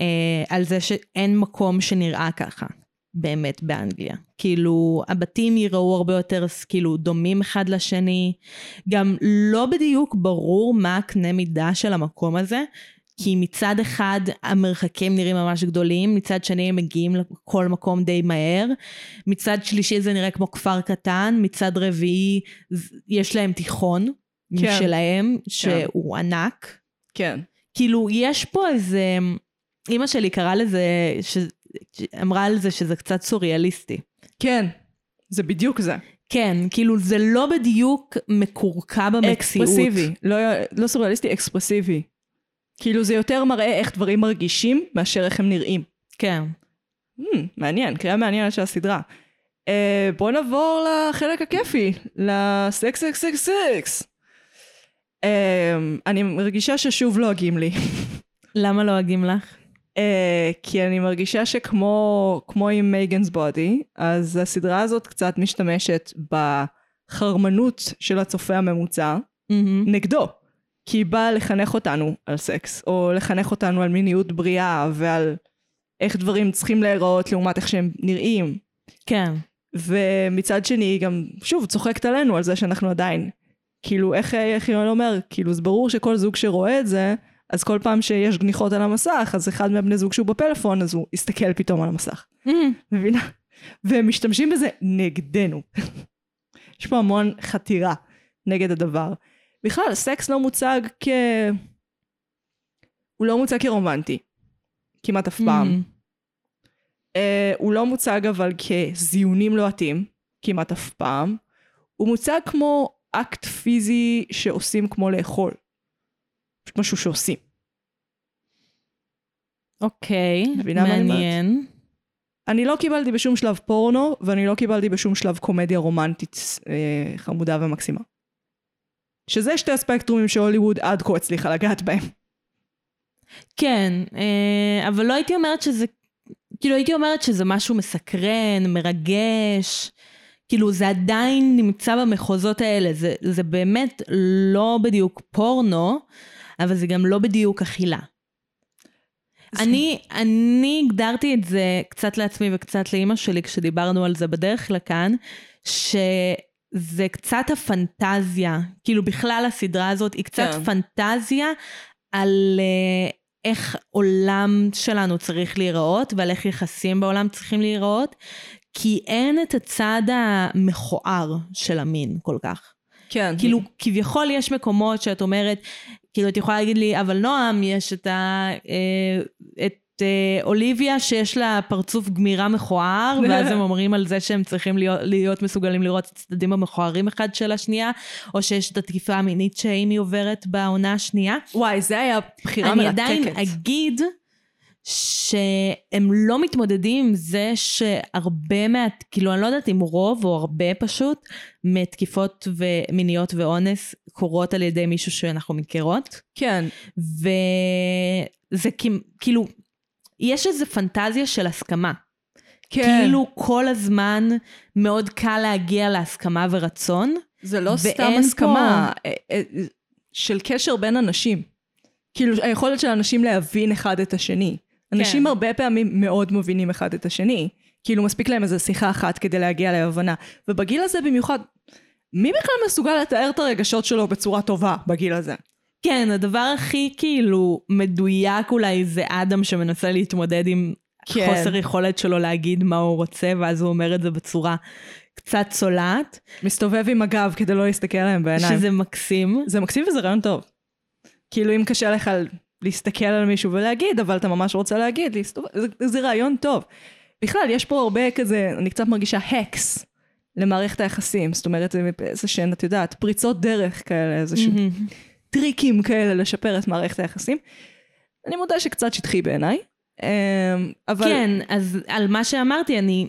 אה, על זה שאין מקום שנראה ככה, באמת, באנגליה. כאילו, הבתים ייראו הרבה יותר, ס- כאילו, דומים אחד לשני. גם לא בדיוק ברור מה הקנה מידה של המקום הזה, כי מצד אחד המרחקים נראים ממש גדולים, מצד שני הם מגיעים לכל מקום די מהר, מצד שלישי זה נראה כמו כפר קטן, מצד רביעי ז- יש להם תיכון כן. שלהם, שהוא ענק. כן. כאילו, יש פה איזה... אימא שלי קראה לזה, ש... אמרה על זה שזה קצת סוריאליסטי. כן. זה בדיוק זה. כן, כאילו זה לא בדיוק מקורקע במציאות. אקספרסיבי. לא, לא סוריאליסטי, אקספרסיבי. כאילו זה יותר מראה איך דברים מרגישים מאשר איך הם נראים. כן. Hmm, מעניין, קריאה מעניינת של הסדרה. Uh, בוא נעבור לחלק הכיפי, לסקס סקס סקס סקס. Uh, אני מרגישה ששוב לועגים לי, למה לא אגים לך? uh, כי אני מרגישה שכמו כמו עם מייגנס בודי, אז הסדרה הזאת קצת משתמשת בחרמנות של הצופה הממוצע מהמם. נגדו. כי היא באה לחנך אותנו על סקס, או לחנך אותנו על מיניות בריאה ועל איך דברים צריכים להיראות לעומת איך שהם נראים. כן. ומצד שני היא גם, שוב, צוחקת עלינו על זה שאנחנו עדיין, כאילו, איך אה, איך יואל אומר, כאילו, זה ברור שכל זוג שרואה את זה, אז כל פעם שיש גניחות על המסך, אז אחד מהבני זוג שהוא בפלאפון, אז הוא יסתכל פתאום על המסך. מהמם. מבינה? והם משתמשים בזה נגדנו. יש פה המון חתירה נגד הדבר. בכלל, סקס לא מוצג כ... הוא לא מוצג כרומנטי. כמעט Mm-hmm. אף פעם. מהמם. אה, הוא לא מוצג אבל כזיונים לוהטים, כמעט אף פעם. הוא מוצג כמו אקט פיזי שעושים כמו לאכול. פשוט משהו שעושים. אוקיי, מבינה מה אני אומרת? מעניין. אני לא קיבלתי בשום שלב פורנו, ואני לא קיבלתי בשום שלב קומדיה רומנטית אה, חמודה ומקסימה. שזה שתי הספקטרומים שהוליווד עד כה הצליחה לגעת בהם. כן, אה, אבל לא הייתי אומרת שזה, כאילו הייתי אומרת שזה משהו מסקרן, מרגש, כאילו זה עדיין נמצא במחוזות האלה, זה, זה באמת לא בדיוק פורנו, אבל זה גם לא בדיוק אכילה. אני, אני הגדרתי את זה קצת לעצמי וקצת לאימא שלי כשדיברנו על זה בדרך לכאן, שזה קצת הפנטזיה, כאילו בכלל הסדרה הזאת היא קצת כן. פנטזיה על אה, איך עולם שלנו צריך להיראות ועל איך יחסים בעולם צריכים להיראות, כי אין את הצד המכוער של המין כל כך. כן. כאילו, כביכול יש מקומות שאת אומרת, כאילו, את יכולה להגיד לי, אבל נועם, יש את ה... אה, את אה, אוליביה שיש לה פרצוף גמירה מכוער, ואז הם אומרים על זה שהם צריכים להיות, להיות מסוגלים לראות את הצדדים המכוערים אחד של השנייה, או שיש את התקיפה המינית שאימי עוברת בעונה השנייה. וואי, זה היה בחירה אני מרתקת. עדיין אגיד שהם לא מתמודדים עם זה שהרבה מה... כאילו, אני לא יודעת אם רוב או הרבה פשוט, מתקיפות ו- מיניות ואונס קורות על ידי מישהו שאנחנו מכירות. כן. וזה כמ- כאילו, יש איזו פנטזיה של הסכמה. כן. כאילו כל הזמן מאוד קל להגיע להסכמה ורצון. זה לא סתם ואין הסכמה אה, אה, של קשר בין אנשים. כאילו, היכולת של אנשים להבין אחד את השני. כן. אנשים הרבה פעמים מאוד מבינים אחד את השני. כאילו, מספיק להם איזו שיחה אחת כדי להגיע להבנה. ובגיל הזה במיוחד, מי בכלל מסוגל לתאר את הרגשות שלו בצורה טובה בגיל הזה? כן, הדבר הכי כאילו מדויק אולי זה אדם שמנסה להתמודד עם כן. כן. חוסר יכולת שלו להגיד מה הוא רוצה, ואז הוא אומר את זה בצורה קצת צולעת, מסתובב עם הגב כדי לא להסתכל להם בעיניים. שזה מקסים. זה מקסים וזה רעיון טוב. כאילו אם קשה לך ל- להסתכל על מישהו ולהגיד, אבל אתה ממש רוצה להגיד, להסתובב, זה, זה רעיון טוב. בכלל, יש פה הרבה כזה, אני קצת מרגישה הקס למערכת היחסים. זאת אומרת, זה איזה שהן, את יודעת, פריצות דרך כאלה, איזה שהם טריקים כאלה לשפר את מערכת היחסים. אני מודה שקצת שטחי בעיניי, אמ, אבל... כן, אז על מה שאמרתי, אני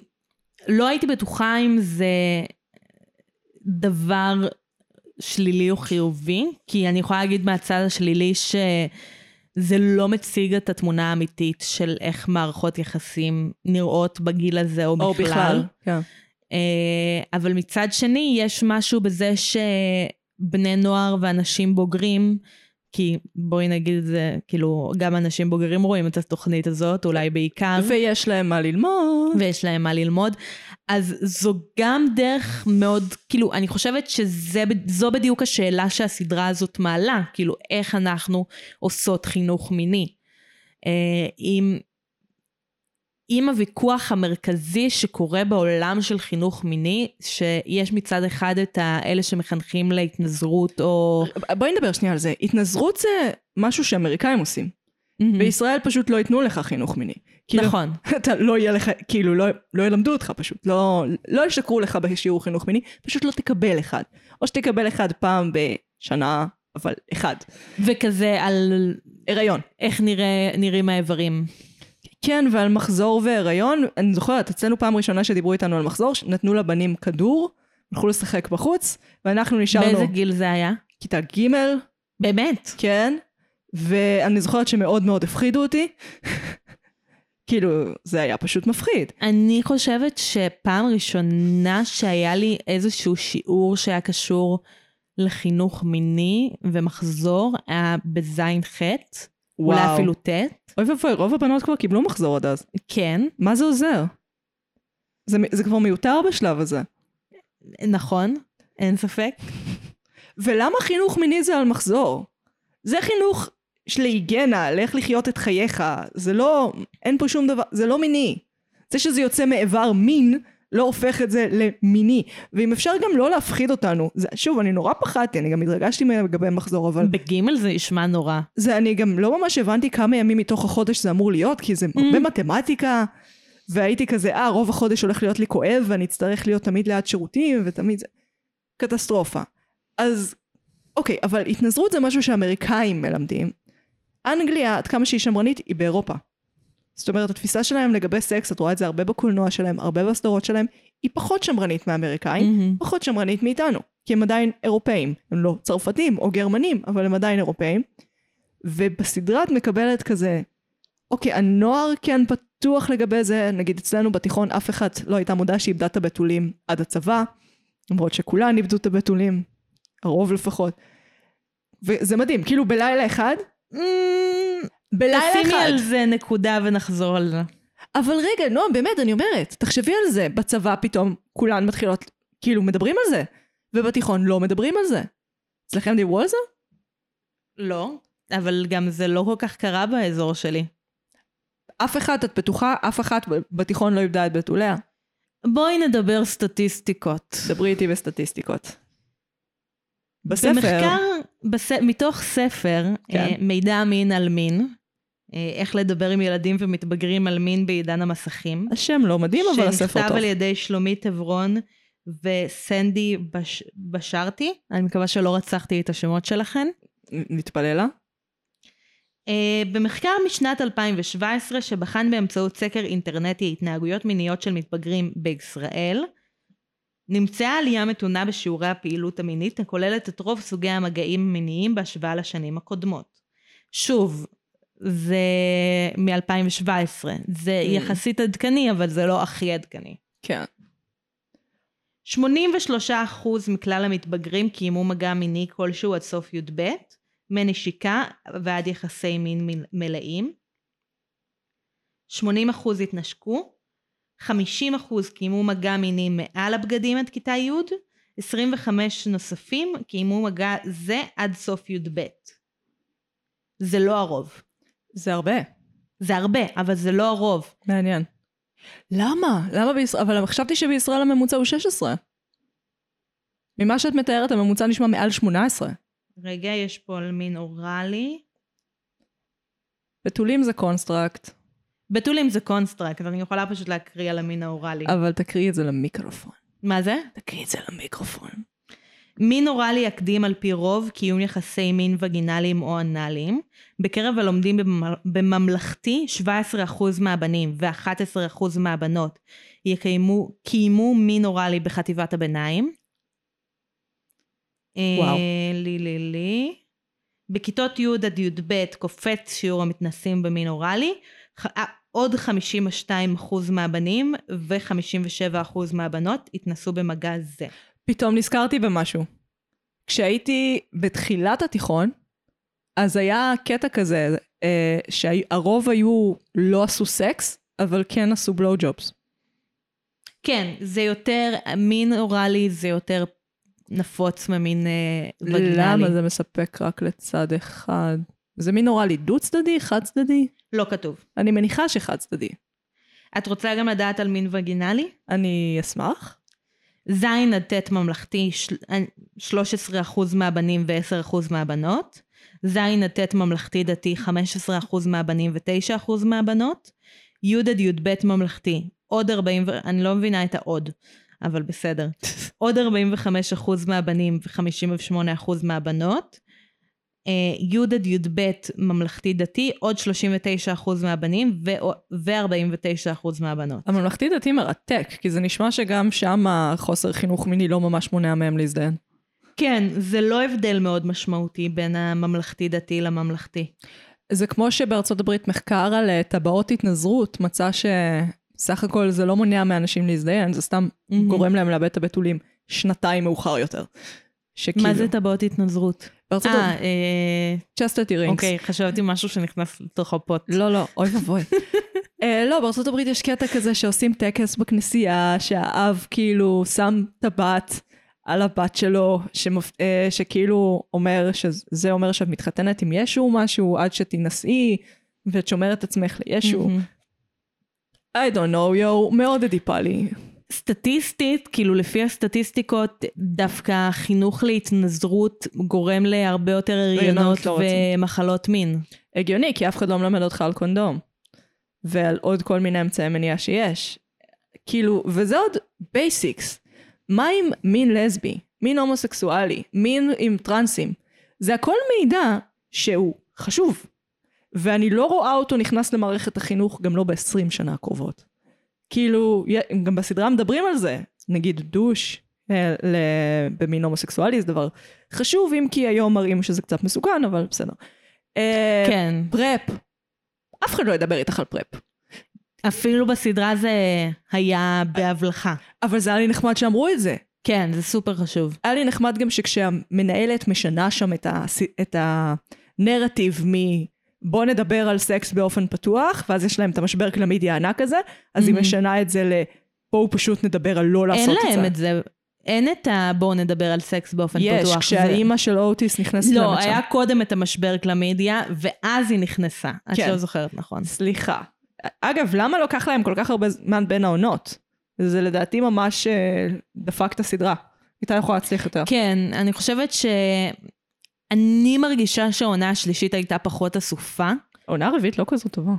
לא הייתי בטוחה אם זה דבר שלילי או חיובי, כי אני יכולה להגיד מהצד השלילי שזה לא מציג את התמונה האמיתית של איך מערכות יחסים נראות בגיל הזה או בכלל. או בכלל. כן. אה, אבל מצד שני, יש משהו בזה שבני נוער ואנשים בוגרים, כי בואי נגיד את זה, כאילו, גם אנשים בוגרים רואים את התוכנית הזאת, אולי בעיקר. ויש להם מה ללמוד. ויש להם מה ללמוד. אז זו גם דרך מאוד, כאילו, אני חושבת שזו בדיוק השאלה שהסדרה הזאת מעלה, כאילו, איך אנחנו עושות חינוך מיני. אה, עם, עם הוויכוח המרכזי שקורה בעולם של חינוך מיני, שיש מצד אחד את האלה שמחנכים להתנזרות או... בואי נדבר שנייה על זה. התנזרות זה משהו שאמריקאים עושים. בישראל פשוט לא ייתנו לך חינוך מיני. כאילו, Mm. נכון. אתה לא יהיה לך, כאילו, לא, לא ילמדו אותך פשוט, לא, לא ישקרו לך בשיעור חינוך מיני, פשוט לא תקבל אחד. או שתקבל אחד פעם בשנה, אבל אחד. וכזה על הריון. איך נראה, נראים האיברים. כן, ועל מחזור והיריון, אני זוכרת, אצלנו פעם ראשונה שדיברו איתנו על מחזור, נתנו לבנים כדור, הלכו לשחק בחוץ, ואנחנו נשארנו באיזה גיל זה היה? כיתה ג', באמת? כן, ואני זוכרת שמאוד מאוד הפחידו אותי. כאילו, זה היה פשוט מפחיד. אני חושבת שפעם ראשונה שהיה לי איזשהו שיעור שהיה קשור לחינוך מיני ומחזור היה בזין חטא, אולי וואו. אפילו ט', אוי ואבוי, רוב הבנות כבר קיבלו מחזור עד אז. כן, מה זה עוזר? זה, מ- זה כבר מיותר בשלב הזה. נכון, אין ספק. ולמה חינוך מיני זה על מחזור? זה חינוך של היגיינה, לאיך לחיות את חייך. זה לא, אין פה שום דבר, זה לא מיני. זה שזה יוצא מאיבר מין, לא הופך את זה למיני. ואם אפשר גם לא להפחיד אותנו. זה, שוב, אני נורא פחדתי, אני גם התרגשתי לגבי מחזור, אבל בגימל זה נשמע נורא. זה אני גם לא ממש הבנתי כמה ימים מתוך החודש זה אמור להיות, כי זה הרבה מתמטיקה, והייתי כזה, אה, רוב החודש הולך להיות לי כואב, ואני אצטרך להיות תמיד ליד שירותים, ותמיד זה... קטסטרופה. אז, אוקיי, אבל התנזרות זה משהו שהאמריקאים מלמדים. אנגליה, עד כמה שהיא שמרנית, היא באירופה. זאת אומרת, התפיסה שלהם לגבי סקס, את רואה את זה הרבה בקולנוע שלהם, הרבה בסדרות שלהם, היא פחות שמרנית מהאמריקאים, מהמם. פחות שמרנית מאיתנו, כי הם עדיין אירופאים. הם לא צרפתים או גרמנים, אבל הם עדיין אירופאים. ובסדרה את מקבלת כזה, אוקיי, הנוער כן פתוח לגבי זה, נגיד אצלנו בתיכון אף אחת לא הייתה מודעה שאיבדה את הבתולים עד הצבא, למרות שכולן איבדו את הבתולים, הרוב לפחות. וזה מדהים, כאילו בלילה אחד, בלילה תשימי אחד. על זה נקודה ונחזור על זה. אבל רגע, נועם, באמת, אני אומרת, תחשבי על זה, בצבא פתאום כולן מתחילות, כאילו, מדברים על זה, ובתיכון לא מדברים על זה. אצלכם דיברו על זה? לא. אבל גם זה לא כל כך קרה באזור שלי. אף אחת, את בטוחה, אף אחת ב- בתיכון לא איבדה את בתוליה. בואי נדבר סטטיסטיקות. דברי איתי בסטטיסטיקות. בספר, במחקר, בס... מתוך ספר, כן. כן. אה, מידע מין על מין, אה, איך לדבר עם ילדים ומתבגרים על מין בעידן המסכים, השם לא מדהים, אבל הספר שנכתב טוב. על ידי שלומית עברון וסנדי בש... בשארתי, אני מקווה שלא רצחתי את השמות שלכן. נ- נתפללה? אה, במחקר משנת 2017, שבחן באמצעות סקר אינטרנטי התנהגויות מיניות של מתבגרים בישראל, נמצאה עלייה מתונה בשיעורי הפעילות המינית, הכוללת את רוב סוגי המגעים המיניים בהשוואה לשנים הקודמות. שוב, זה מ-2017. זה Mm. יחסית עדכני, אבל זה לא הכי עדכני. כן. 83% מכלל המתבגרים קיימו מגע מיני כלשהו עד סוף י"ב, מנשיקה ועד יחסי מין מל- מלאים. 80% התנשקו, 50% קיימו מגע מיני מעל הבגדים עד כיתה י', 25 נוספים קיימו מגע זה עד סוף י"ב. זה לא הרוב. זה הרבה. זה הרבה, אבל זה לא הרוב. מעניין. למה? למה בישראל? אבל חשבתי שבישראל הממוצע הוא 16. ממה שאת מתארת, הממוצע נשמע מעל 18. רגע, יש פה על מין אוראלי. בתולים זה קונסטרקט, בתולים זה קונסטרקט, אני יכולה פשוט להקריא על המין האוראלי. אבל תקריאי את זה למיקרופון. מה זה? תקריאי את זה למיקרופון. מין אוראלי יקדים על פי רוב קיום יחסי מין וגינליים או אנאליים. בקרב הלומדים במ- בממלכתי, 17% מהבנים ו-11% מהבנות יקיימו, קיימו מין אוראלי בחטיבת הביניים. וואו. אה, לי לי לי. בכיתות י' עד י"ב קופץ שיעור המתנסים במין אוראלי. ח- אה, עוד 52% מהבנים ו-57% מהבנות התנסו במגע זה. פתאום נזכרתי במשהו. כשהייתי בתחילת התיכון, אז היה קטע כזה, אה, שהרוב היו לא עשו סקס, אבל כן עשו בלואו ג'ובס. כן, זה יותר, מין אוראלי זה יותר נפוץ ממין אה, וגינלי. למה זה מספק רק לצד אחד? זה מין אוראלי דו-צדדי, חד-צדדי? לא כתוב. אני מניחה שחד-צדדי. את רוצה גם לדעת על מין וגינלי? אני אשמח. ז' עד ט' ממלכתי, של- אה, 13% מהבנים ו-10% מהבנות. ז' עד ט' ממלכתי דתי, 15% מהבנים ו-9% מהבנות. י' עד י"ב ממלכתי, עוד 40, ו- אני לא מבינה את העוד, אבל בסדר. עוד 45% מהבנים ו-58% מהבנות. אה, י' עד י"ב ממלכתי דתי, עוד 39% מהבנים ו-49% מהבנות. הממלכתי דתי מרתק, כי זה נשמע שגם שם החוסר חינוך מיני לא ממש מונע מהם להזדיין. כן, זה לא הבדל מאוד משמעותי בין הממלכתי-דתי לממלכתי. זה כמו שבארצות הברית מחקר על אה, טבעות התנזרות מצא שסך הכל זה לא מונע מאנשים להזדיין, זה סתם Mhm. גורם להם לאבד את הבתולים שנתיים מאוחר יותר. שכאילו, מה זה טבעות התנזרות? בארצות כאילו. אה, הברית, אה, צ'סטט אירינגס. אוקיי, חשבתי משהו שנכנס לתוך הפוט. לא, לא, אוי ואבוי. אה, לא, בארצות הברית יש קטע כזה שעושים טקס בכנסייה, שהאב כאילו שם טבעת על הבת שלו, שמפ... אה, שכאילו אומר, שזה אומר שאת מתחתנת עם ישו או משהו עד שתינשאי, ואת שומרת עצמך לישו. מהמם. I don't know, yo, מאוד אדיפה לי. סטטיסטית, כאילו לפי הסטטיסטיקות, דווקא חינוך להתנזרות גורם להרבה יותר הריונות הריונות לא רוצים. ומחלות מין. הגיוני, כי אף אחד לא מלמד אותך על קונדום. ועל עוד כל מיני אמצעי מניעה שיש. כאילו, וזה עוד בייסיקס. מה עם מין לסבי? מין הומוסקסואלי? מין עם טרנסים? זה הכל מידע שהוא חשוב. ואני לא רואה אותו נכנס למערכת החינוך גם לא ב-20 שנה הקרובות. כאילו, י- גם בסדרה מדברים על זה. נגיד דוש אה, ל- במין הומוסקסואלי זה דבר חשוב, אם כי היום מראים שזה קצת מסוכן, אבל בסדר. אה, כן. פרפ. אף אחד לא ידבר איתך על פרפ. אפילו בסדרה זה היה בהבלחה. אבל זה היה לי נחמד שאמרו את זה. כן, זה סופר חשוב. היה לי נחמד גם שכשהמנהלת משנה שם את, הס... את הנרטיב מ... בוא נדבר על סקס באופן פתוח, ואז יש להם את המשבר קלמידי הענק הזה, אז היא משנה את זה ל... בואו פשוט נדבר על לא לעשות אין את זה. להם את זה. אין את ה... בואו נדבר על סקס באופן יש, פתוח. כשהאימא של אוטיס נכנסת לא, למצב. היה קודם את המשבר קלמידיה, ואז היא נכנסה. את כן. לא זוכרת נכון. סליחה. אגב, למה לקח להם כל כך הרבה זמן בין העונות? זה לדעתי ממש אה, דפק את הסדרה. הייתה יכולה להצליח יותר. כן, אני חושבת ש... אני מרגישה שהעונה השלישית הייתה פחות אסופה. העונה הרביעית לא כזו טובה.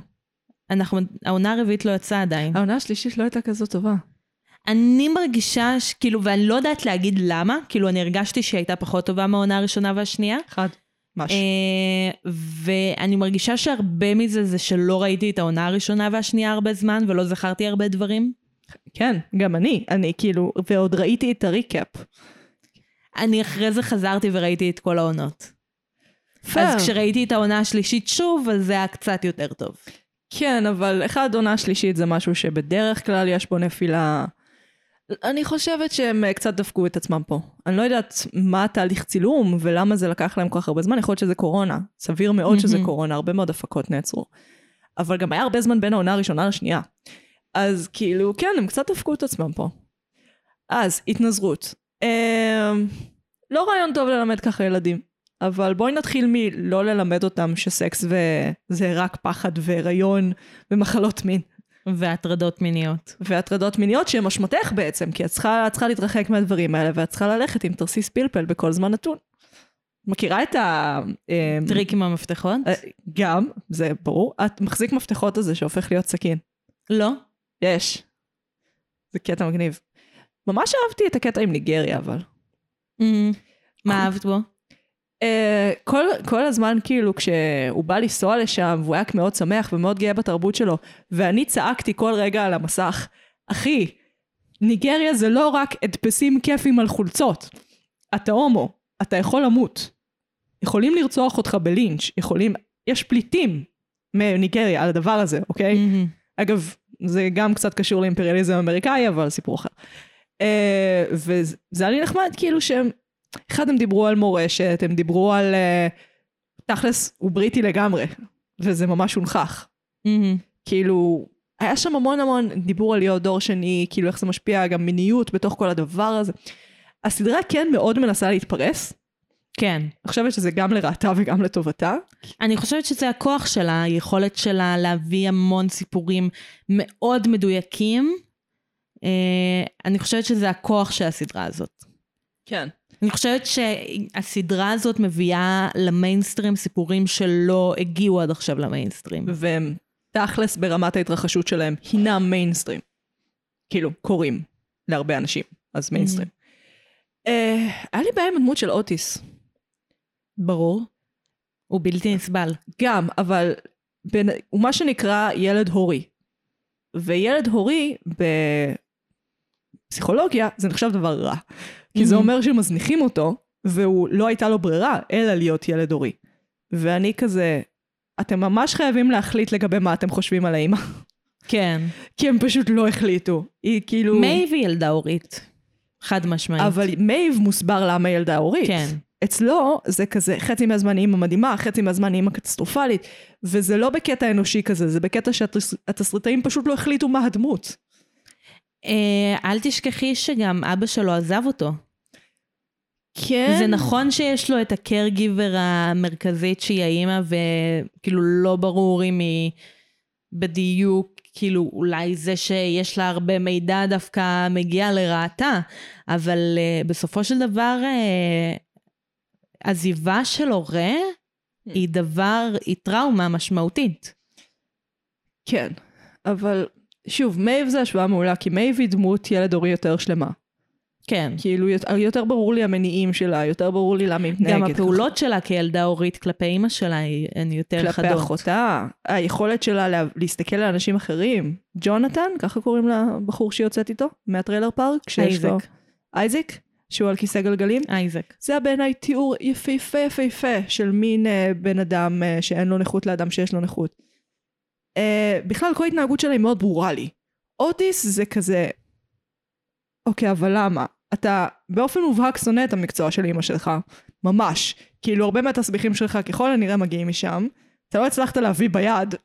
אנחנו... העונה הרביעית לא יצאה עדיין. העונה השלישית לא הייתה כזו טובה. אני מרגישה, ש- כאילו, ואני לא יודעת להגיד למה, כאילו, אני הרגשתי שהיא הייתה פחות טובה מהעונה הראשונה והשנייה. אחד. משהו. אה, ואני מרגישה שהרבה מזה זה שלא ראיתי את העונה הראשונה והשנייה הרבה זמן, ולא זכרתי הרבה דברים. כן, גם אני. אני כאילו, ועוד ראיתי את הריקאפ. אני אחרי זה חזרתי וראיתי את כל העונות. אז כשראיתי את העונה השלישית שוב, אז זה היה קצת יותר טוב. כן, אבל אחד עונה שלישית זה משהו שבדרך כלל יש בו נפילה. אני חושבת שהם אה, קצת דפקו את עצמם פה. אני לא יודעת מה התהליך צילום ולמה זה לקח להם כל כך הרבה זמן, יכול להיות שזה קורונה. סביר מאוד שזה מהמם. קורונה, הרבה מאוד הפקות נעצרו. אבל גם היה הרבה זמן בין העונה הראשונה לשנייה. אז כאילו, כן, הם קצת דפקו את עצמם פה. אז, התנזרות. אמ, לא רעיון טוב ללמד ככה ילדים, אבל בואי נתחיל מלא ללמד אותם שסקס ו- זה רק פחד והיריון ומחלות מין והטרדות מיניות. והטרדות מיניות שהן אשמתך בעצם, כי את צריכה, את צריכה להתרחק מהדברים האלה ואת צריכה ללכת עם תרסיס פלפל בכל זמן נתון. מכירה את ה... אמ, טריק עם המפתחות? אה, גם, זה ברור. את מחזיק מפתחות הזה שהופך להיות סכין. לא. יש. זה קטע מגניב. ממש אהבתי את הקטע עם ניגריה, אבל. אמ, מה אהבת בו? אה, כל, כל הזמן, כאילו, כשהוא בא לנסוע לשם, והוא היה מאוד שמח ומאוד גאה בתרבות שלו, ואני צעקתי כל רגע על המסך, אחי, ניגריה זה לא רק הדפסים כיפים על חולצות. אתה הומו, אתה יכול למות. יכולים לרצוח אותך בלינץ', יכולים... יש פליטים מניגריה על הדבר הזה, אוקיי? אמ, אגב, זה גם קצת קשור לאימפריאליזם האמריקאי, אבל סיפור אחר. אה, וזה היה לי נחמד, כאילו שהם... אחד, הם דיברו על מורשת, הם דיברו על... אה, תכלס, הוא בריטי לגמרי, וזה ממש הונחח. אמ. כאילו, היה שם המון המון דיבור על להיות דור שני, כאילו איך זה משפיע, גם מיניות בתוך כל הדבר הזה. הסדרה כן מאוד מנסה להתפרס, כן. אני חושבת שזה גם לרעתה וגם לטובתה. אני חושבת שזה הכוח שלה, היכולת שלה להביא המון סיפורים מאוד מדויקים. אה, אני חושבת שזה הכוח של הסדרה הזאת. כן. אני חושבת שהסדרה הזאת מביאה למיינסטרים סיפורים שלא הגיעו עד עכשיו למיינסטרים. והם תכלס ברמת ההתרחשות שלהם הינם מיינסטרים. כאילו, קוראים להרבה אנשים, אז מיינסטרים. אה, היה לי בעיה עם הדמות של אוטיס. ברור. הוא בלתי נסבל. גם, אבל בין, הוא מה שנקרא ילד הורי. וילד הורי בפסיכולוגיה זה נחשב דבר רע. כי זה Mhm. אומר שמזניחים אותו, והוא לא הייתה לו ברירה אלא להיות ילד הורי. ואני כזה, אתם ממש חייבים להחליט לגבי מה אתם חושבים על האימא. כן. כי הם פשוט לא החליטו. היא כאילו... מייב היא ילדה הורית. חד משמעית. אבל מייב מוסבר למה היא ילדה הורית. כן. אצלו זה כזה חצי מהזמן היא אימא מדהימה, חצי מהזמן היא אימא קטסטרופלית, וזה לא בקטע אנושי כזה, זה בקטע שהתסריטאים פשוט לא החליטו מה הדמות. אה, אל תשכחי שגם אבא שלו עזב אותו. כן. זה נכון שיש לו את הקרגיבר המרכזית שהיא האימא, וכאילו לא ברור אם היא בדיוק, כאילו אולי זה שיש לה הרבה מידע דווקא מגיע לרעתה, אבל uh, בסופו של דבר uh, עזיבה של הורה היא דבר, היא טראומה משמעותית. כן. אבל שוב, מייב זה השוואה מעולה, כי מייב היא דמות ילד הורי יותר שלמה. כן. כאילו, יות- יותר ברור לי המניעים שלה, יותר ברור לי למה היא מתנהגת. גם ככה. הפעולות שלה כילדה הורית כלפי אימא שלה היא- הן יותר כלפי כן, חדות. אחותה, היכולת שלה לה, להסתכל על אנשים אחרים. ג'ונתן, ככה קוראים לבחור שיוצאת איתו, מהטריילר פארק, שיש לו... אייזק. אייזק, שהוא על כיסא גלגלים. אייזק. זה היה בעיניי תיאור יפהפה יפהפה של מין אה, בן אדם אה, שאין לו נכות לאדם שיש לו נכות. אה, בכלל כל ההתנהגות שלה היא מאוד ברורה לי. אוטיס זה כזה, אוקיי אבל למה? אתה באופן מובהק שונא את המקצוע של אמא שלך, ממש. כאילו הרבה מהתסביכים שלך ככל הנראה מגיעים משם, אתה לא הצלחת להביא ביד,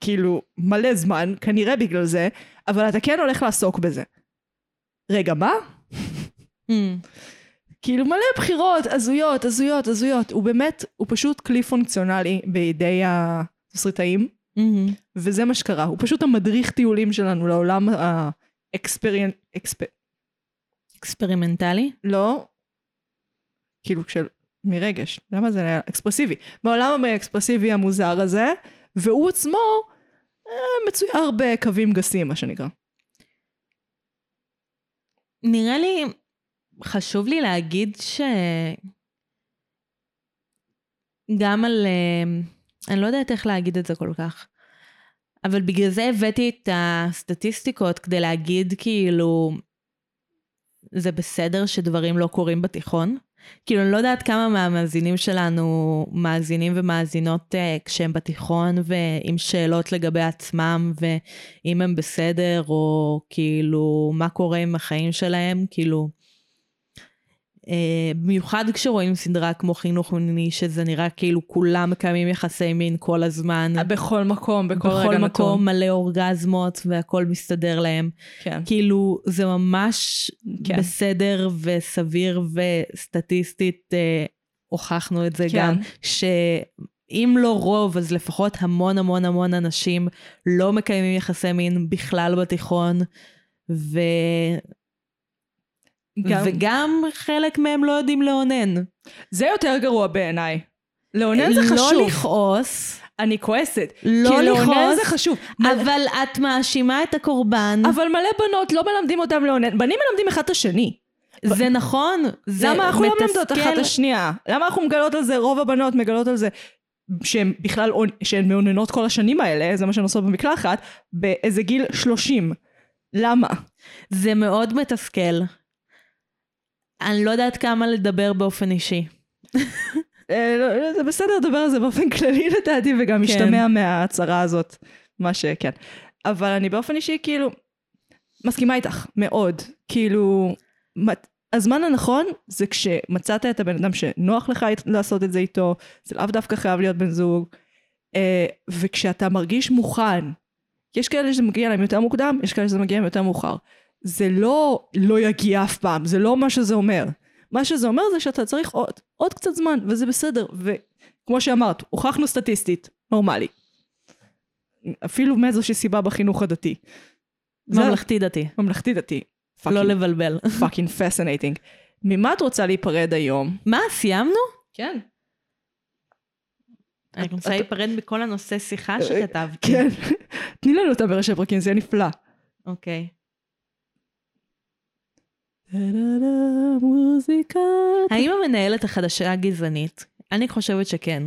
כאילו מלא זמן, כנראה בגלל זה, אבל אתה כן הולך לעסוק בזה. רגע מה? Mm. כאילו מלא בחירות הזויות, הזויות, הזויות. הוא באמת, הוא פשוט כלי פונקציונלי בידי התסריטאים, מהמם. וזה מה שקרה. הוא פשוט המדריך טיולים שלנו לעולם האקספריאנט... אקספ... אקספרימנטלי? לא. כאילו של... מרגש. למה זה היה אקספרסיבי? בעולם האקספרסיבי המוזר הזה, והוא עצמו אה, מצויר בקווים גסים, מה שנקרא. נראה לי, חשוב לי להגיד ש... גם על... אה, אני לא יודעת איך להגיד את זה כל כך, אבל בגלל זה הבאתי את הסטטיסטיקות כדי להגיד כאילו, זה בסדר שדברים לא קורים בתיכון. כאילו, אני לא יודעת כמה מהמאזינים שלנו מאזינים ומאזינות אה, כשהם בתיכון ועם שאלות לגבי עצמם ואם הם בסדר, או כאילו, מה קורה עם החיים שלהם, כאילו... אה, במיוחד כשרואים סדרה כמו חינוך מיני, שזה נראה כאילו כולם מקיימים יחסי מין כל הזמן. בכל מקום, בכל, בכל מקום מלא אורגזמות והכל מסתדר להם. כן. כאילו זה ממש כן. כן. בסדר וסביר וסטטיסטית אה, הוכחנו את זה כן. כן. גם, שאם לא רוב אז לפחות המון המון המון אנשים לא מקיימים יחסי מין בכלל בתיכון, ו... גם- גם... וגם חלק מהם לא יודעים לאונן. זה יותר גרוע בעיניי. לאונן זה חשוב. לא לכעוס, אני כועסת. לא כי לאונן לכעוס, זה חשוב. אבל... אבל את מאשימה את הקורבן. אבל מלא בנות לא מלמדים אותם לאונן. בנים מלמדים אחד את השני. זה נכון, זה למה אנחנו לא מלמדות מתסכל. אחת את השנייה? למה אנחנו מגלות על זה, רוב הבנות מגלות על זה, שהן בכלל, אונ- שהן מאוננות כל השנים האלה, זה מה שהן עושות במקלחת, באיזה גיל 30. למה? זה מאוד מתסכל. אני לא יודעת כמה לדבר באופן אישי. אה, לא, לא, זה בסדר לדבר על זה באופן כללי לדעתי, וגם כן. משתמע מההצהרה הזאת, מה שכן. אבל אני באופן אישי כאילו, מסכימה איתך, מאוד. כאילו, מת- הזמן הנכון זה כשמצאת את הבן אדם שנוח לך אית- לעשות את זה איתו, זה לאו דווקא חייב להיות בן זוג, אה, וכשאתה מרגיש מוכן, יש כאלה שזה מגיע להם יותר מוקדם, יש כאלה שזה מגיע להם יותר מאוחר. זה לא לא יגיע אף פעם, זה לא מה שזה אומר. מה שזה אומר זה שאתה צריך עוד, עוד קצת זמן, וזה בסדר. וכמו שאמרת, הוכחנו סטטיסטית, נורמלי. אפילו מאיזושהי סיבה בחינוך הדתי. זה- ממלכתי דתי. ממלכתי דתי. לא לבלבל. פאקינג פסינטינג. ממה את רוצה להיפרד היום? מה, סיימנו? כן. אני רוצה את- להיפרד מכל הנושא שיחה אה, שכתבתי. כן. תני לנו אותה בראשי פרקים, זה יהיה נפלא. אוקיי. טה-דה-דה, מוזיקה. האם המנהלת החדשה גזענית? אני חושבת שכן.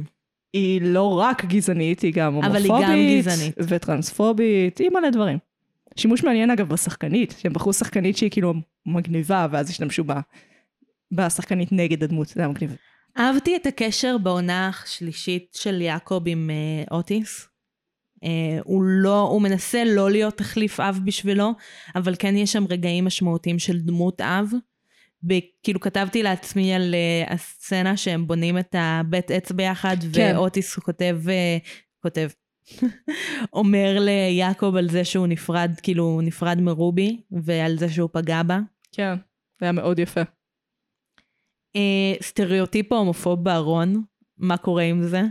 היא לא רק גזענית, היא גם אבל היא הומופובית. גם גזענית. וטרנספובית, היא מלא דברים. שימוש מעניין אגב בשחקנית, שהם בחרו שחקנית שהיא כאילו מגניבה, ואז השתמשו בה, בשחקנית נגד הדמות, זה היה מגניב. אהבתי את הקשר בעונה השלישית של יעקב עם אה, אוטיס. אה, הוא לא, הוא מנסה לא להיות תחליף אב בשבילו, אבל כן יש שם רגעים משמעותיים של דמות אב. וכאילו כתבתי לעצמי על אה, הסצנה שהם בונים את הבית עץ ביחד, כן. כן. ואוטיס הוא כותב, אה, כותב, אומר ליעקב על זה שהוא נפרד, כאילו הוא נפרד מרובי, ועל זה שהוא פגע בה. כן, זה היה מאוד יפה. אה, סטריאוטיפ ההומופוב בארון, מה קורה עם זה?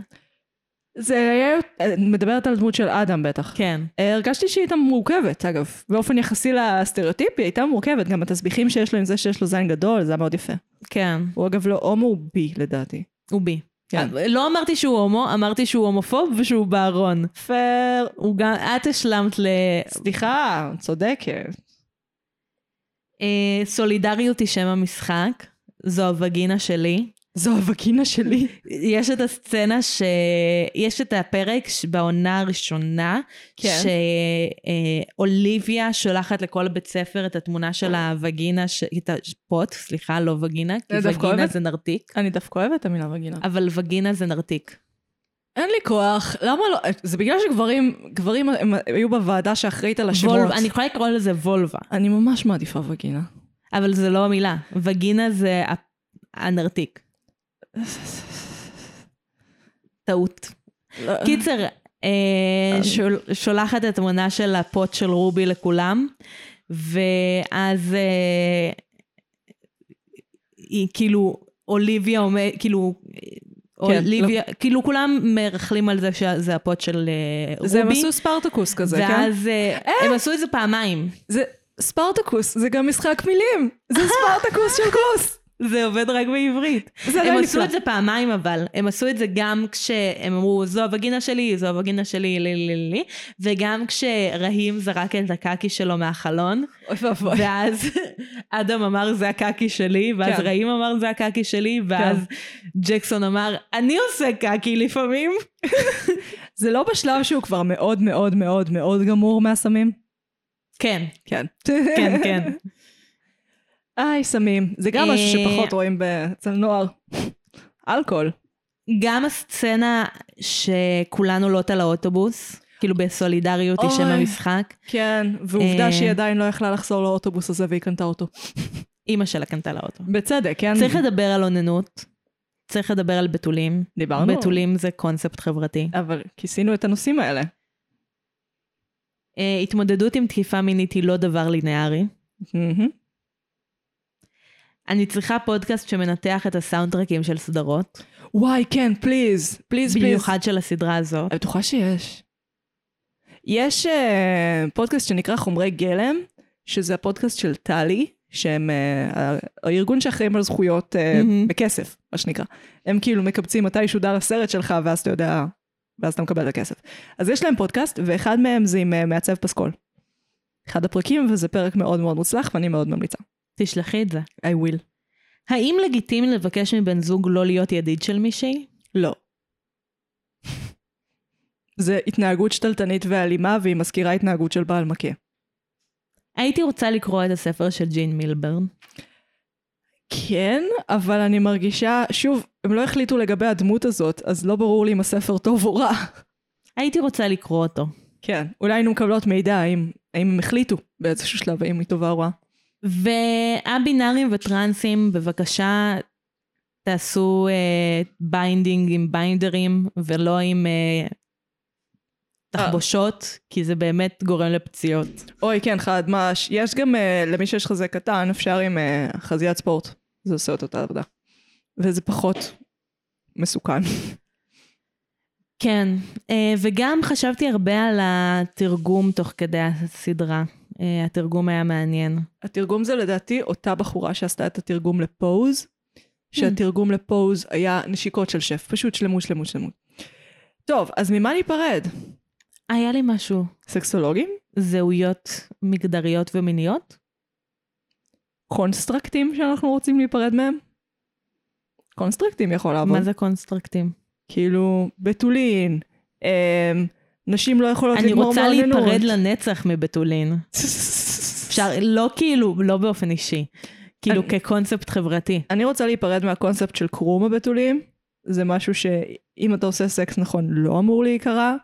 זה היה, את מדברת על דמות של אדם בטח. כן. אה, הרגשתי שהיא הייתה מורכבת, אגב. באופן יחסי לסטריאוטיפ, היא הייתה מורכבת. גם התסביכים שיש לו עם זה שיש לו זין גדול, זה היה מאוד יפה. כן, הוא אגב לא הומו, הוא בי לדעתי. הוא בי. כן. אבל לא אמרתי שהוא הומו, אמרתי שהוא הומופוב ושהוא בארון. פייר. הוא גם, את השלמת סליחה, צודקת. אה, לסולידריות היא שם המשחק, זו הווגינה שלי. זו הווקינה שלי. יש את הסצנה ש... יש את הפרק ש- בעונה הראשונה, כן. שאוליביה שולחת לכל בית ספר את התמונה של הווגינה, ש... את הפוט, סליחה, לא וגינה, כי זה אה, דווקא וגינה אוהבת. זה נרתיק, אני דווקא אוהבת את המילה וגינה. אבל וגינה זה נרתיק. אין לי כוח, למה לא? זה בגלל שגברים, גברים הם היו בוועדה שאחראית על השמות. וולבה, אני יכולה לקרוא לזה וולבה, אני ממש מעדיפה וגינה. אבל זה לא המילה. וגינה זה ה- הנרתיק. טעות. לא. קיצר, אה, שול, שולחת את התמונה של הפוט של רובי לכולם, ואז אה, היא כאילו, אוליביה עומד, כאילו, כן, אוליביה, כאילו כולם מרכלים על זה שזה הפוט של אה, רובי. זה הם עשו ספרטקוס כזה, כן? ואז אה, הם עשו את זה פעמיים. זה ספרטקוס, זה גם משחק מילים. זה ספרטקוס של כוס. זה עובד רק בעברית. זה הם עדיין עשו נפלא. את זה פעמיים אבל, הם עשו את זה גם כשהם אמרו זו הווגינה שלי, זו הווגינה שלי, לי לי לי לי, וגם כשרהים זרק את הקקי שלו מהחלון, אוי ואבוי. ואז אדם אמר זה הקקי שלי, ואז כן. רהים אמר זה הקקי שלי, ואז ג'קסון אמר אני עושה קקי לפעמים. זה לא בשלב שהוא כבר מאוד מאוד מאוד מאוד גמור מהסמים? כן, כן. כן, כן. איי, סמים. זה גם משהו אה, שפחות רואים אצל נוער. אלכוהול. גם הסצנה שכולן עולות על האוטובוס, כאילו בסולידריות היא שם אוי. המשחק, כן, אה, ועובדה שהיא עדיין לא יכלה לחזור לאוטובוס הזה והיא קנתה אותו. אימא שלה קנתה לה אוטו. בצדק, כן? צריך לדבר על אוננות, צריך לדבר על בתולים. דיברנו. בתולים זה קונספט חברתי. אבל כיסינו את הנושאים האלה. אה, התמודדות עם תקיפה מינית היא לא דבר לינארי. מהמם. אני צריכה פודקאסט שמנתח את הסאונדטרקים של סדרות, וואי, כן, פליז. פליז, פליז. במיוחד של הסדרה הזאת. אני בטוחה שיש. יש אה, פודקאסט שנקרא חומרי גלם, שזה הפודקאסט של טלי, שהם אה, ה- הארגון שאחראים על זכויות אה, מהמם. בכסף, מה שנקרא. הם כאילו מקבצים מתי שודר הסרט שלך, ואז אתה יודע, ואז אתה מקבל את הכסף. אז יש להם פודקאסט, ואחד מהם זה עם אה, מעצב פסקול. אחד הפרקים, וזה פרק מאוד מאוד מוצלח, ואני מאוד ממליצה. תשלחי את זה. I will. האם לגיטימי לבקש מבן זוג לא להיות ידיד של מישהי? לא. זה התנהגות שתלטנית ואלימה, והיא מזכירה התנהגות של בעל מכה. הייתי רוצה לקרוא את הספר של ג'ין מילברן. כן, אבל אני מרגישה, שוב, הם לא החליטו לגבי הדמות הזאת, אז לא ברור לי אם הספר טוב או רע. הייתי רוצה לקרוא אותו. כן, אולי היינו מקבלות מידע האם, האם הם החליטו באיזשהו שלב, האם היא טובה או רעה. והבינארים וטרנסים, בבקשה, תעשו אה, ביינדינג עם ביינדרים, ולא עם אה, תחבושות, כי זה באמת גורם לפציעות. אוי, כן, חד מש. יש גם, uh, למי שיש חזה קטן, אפשר עם uh, חזיית ספורט. זה עושה את אותה עבודה. וזה פחות מסוכן. כן, אה, וגם חשבתי הרבה על התרגום תוך כדי הסדרה. אה, התרגום היה מעניין. התרגום זה לדעתי אותה בחורה שעשתה את התרגום לפוז, שהתרגום לפוז היה נשיקות של שף, פשוט שלמות, שלמות, שלמות. טוב, אז ממה ניפרד? היה לי משהו, סקסולוגים? זהויות מגדריות ומיניות? קונסטרקטים שאנחנו רוצים להיפרד מהם? קונסטרקטים יכול לעבוד. מה זה קונסטרקטים? כאילו, בתולין, אמ, נשים לא יכולות אני לגמור רוצה מעוננות. להיפרד לנצח מבתולין. אפשר, לא כאילו, לא באופן אישי, כאילו אני- כקונספט חברתי. אני רוצה להיפרד מהקונספט של קרום הבתולים. זה משהו שאם אתה עושה סקס נכון, לא אמור להיקרע.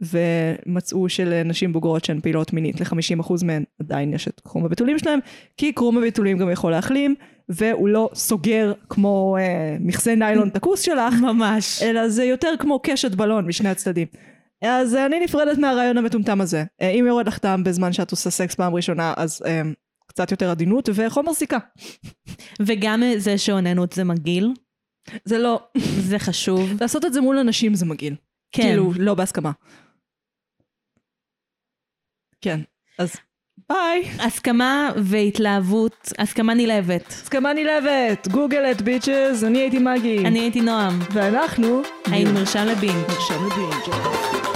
ומצאו שלנשים בוגרות שהן פעילות מינית, ל-50% מהן עדיין יש את קרום הבתולים שלהם, כי קרום הבתולים גם יכול להחלים, והוא לא סוגר כמו אה, מכסה ניילון את הכוס שלך, ממש. אלא זה יותר כמו קשת בלון משני הצדדים. אז אה, אני נפרדת מהרעיון המטומטם הזה. אה, אם יורד לך טעם בזמן שאת עושה סקס פעם ראשונה, אז אה, קצת יותר עדינות וחומר סיכה. וגם זה שאוננות זה מגעיל, זה לא, זה חשוב. לעשות את זה מול אנשים זה מגעיל. כן. כאילו, לא בהסכמה. כן. אז ביי. הסכמה והתלהבות, הסכמה נלהבת. הסכמה נלהבת, גוגל את ביצ'ס, אני הייתי מגי. כן. אני הייתי נועם, ואנחנו... היינו מרשם לבינג'. נרשם לבינג'.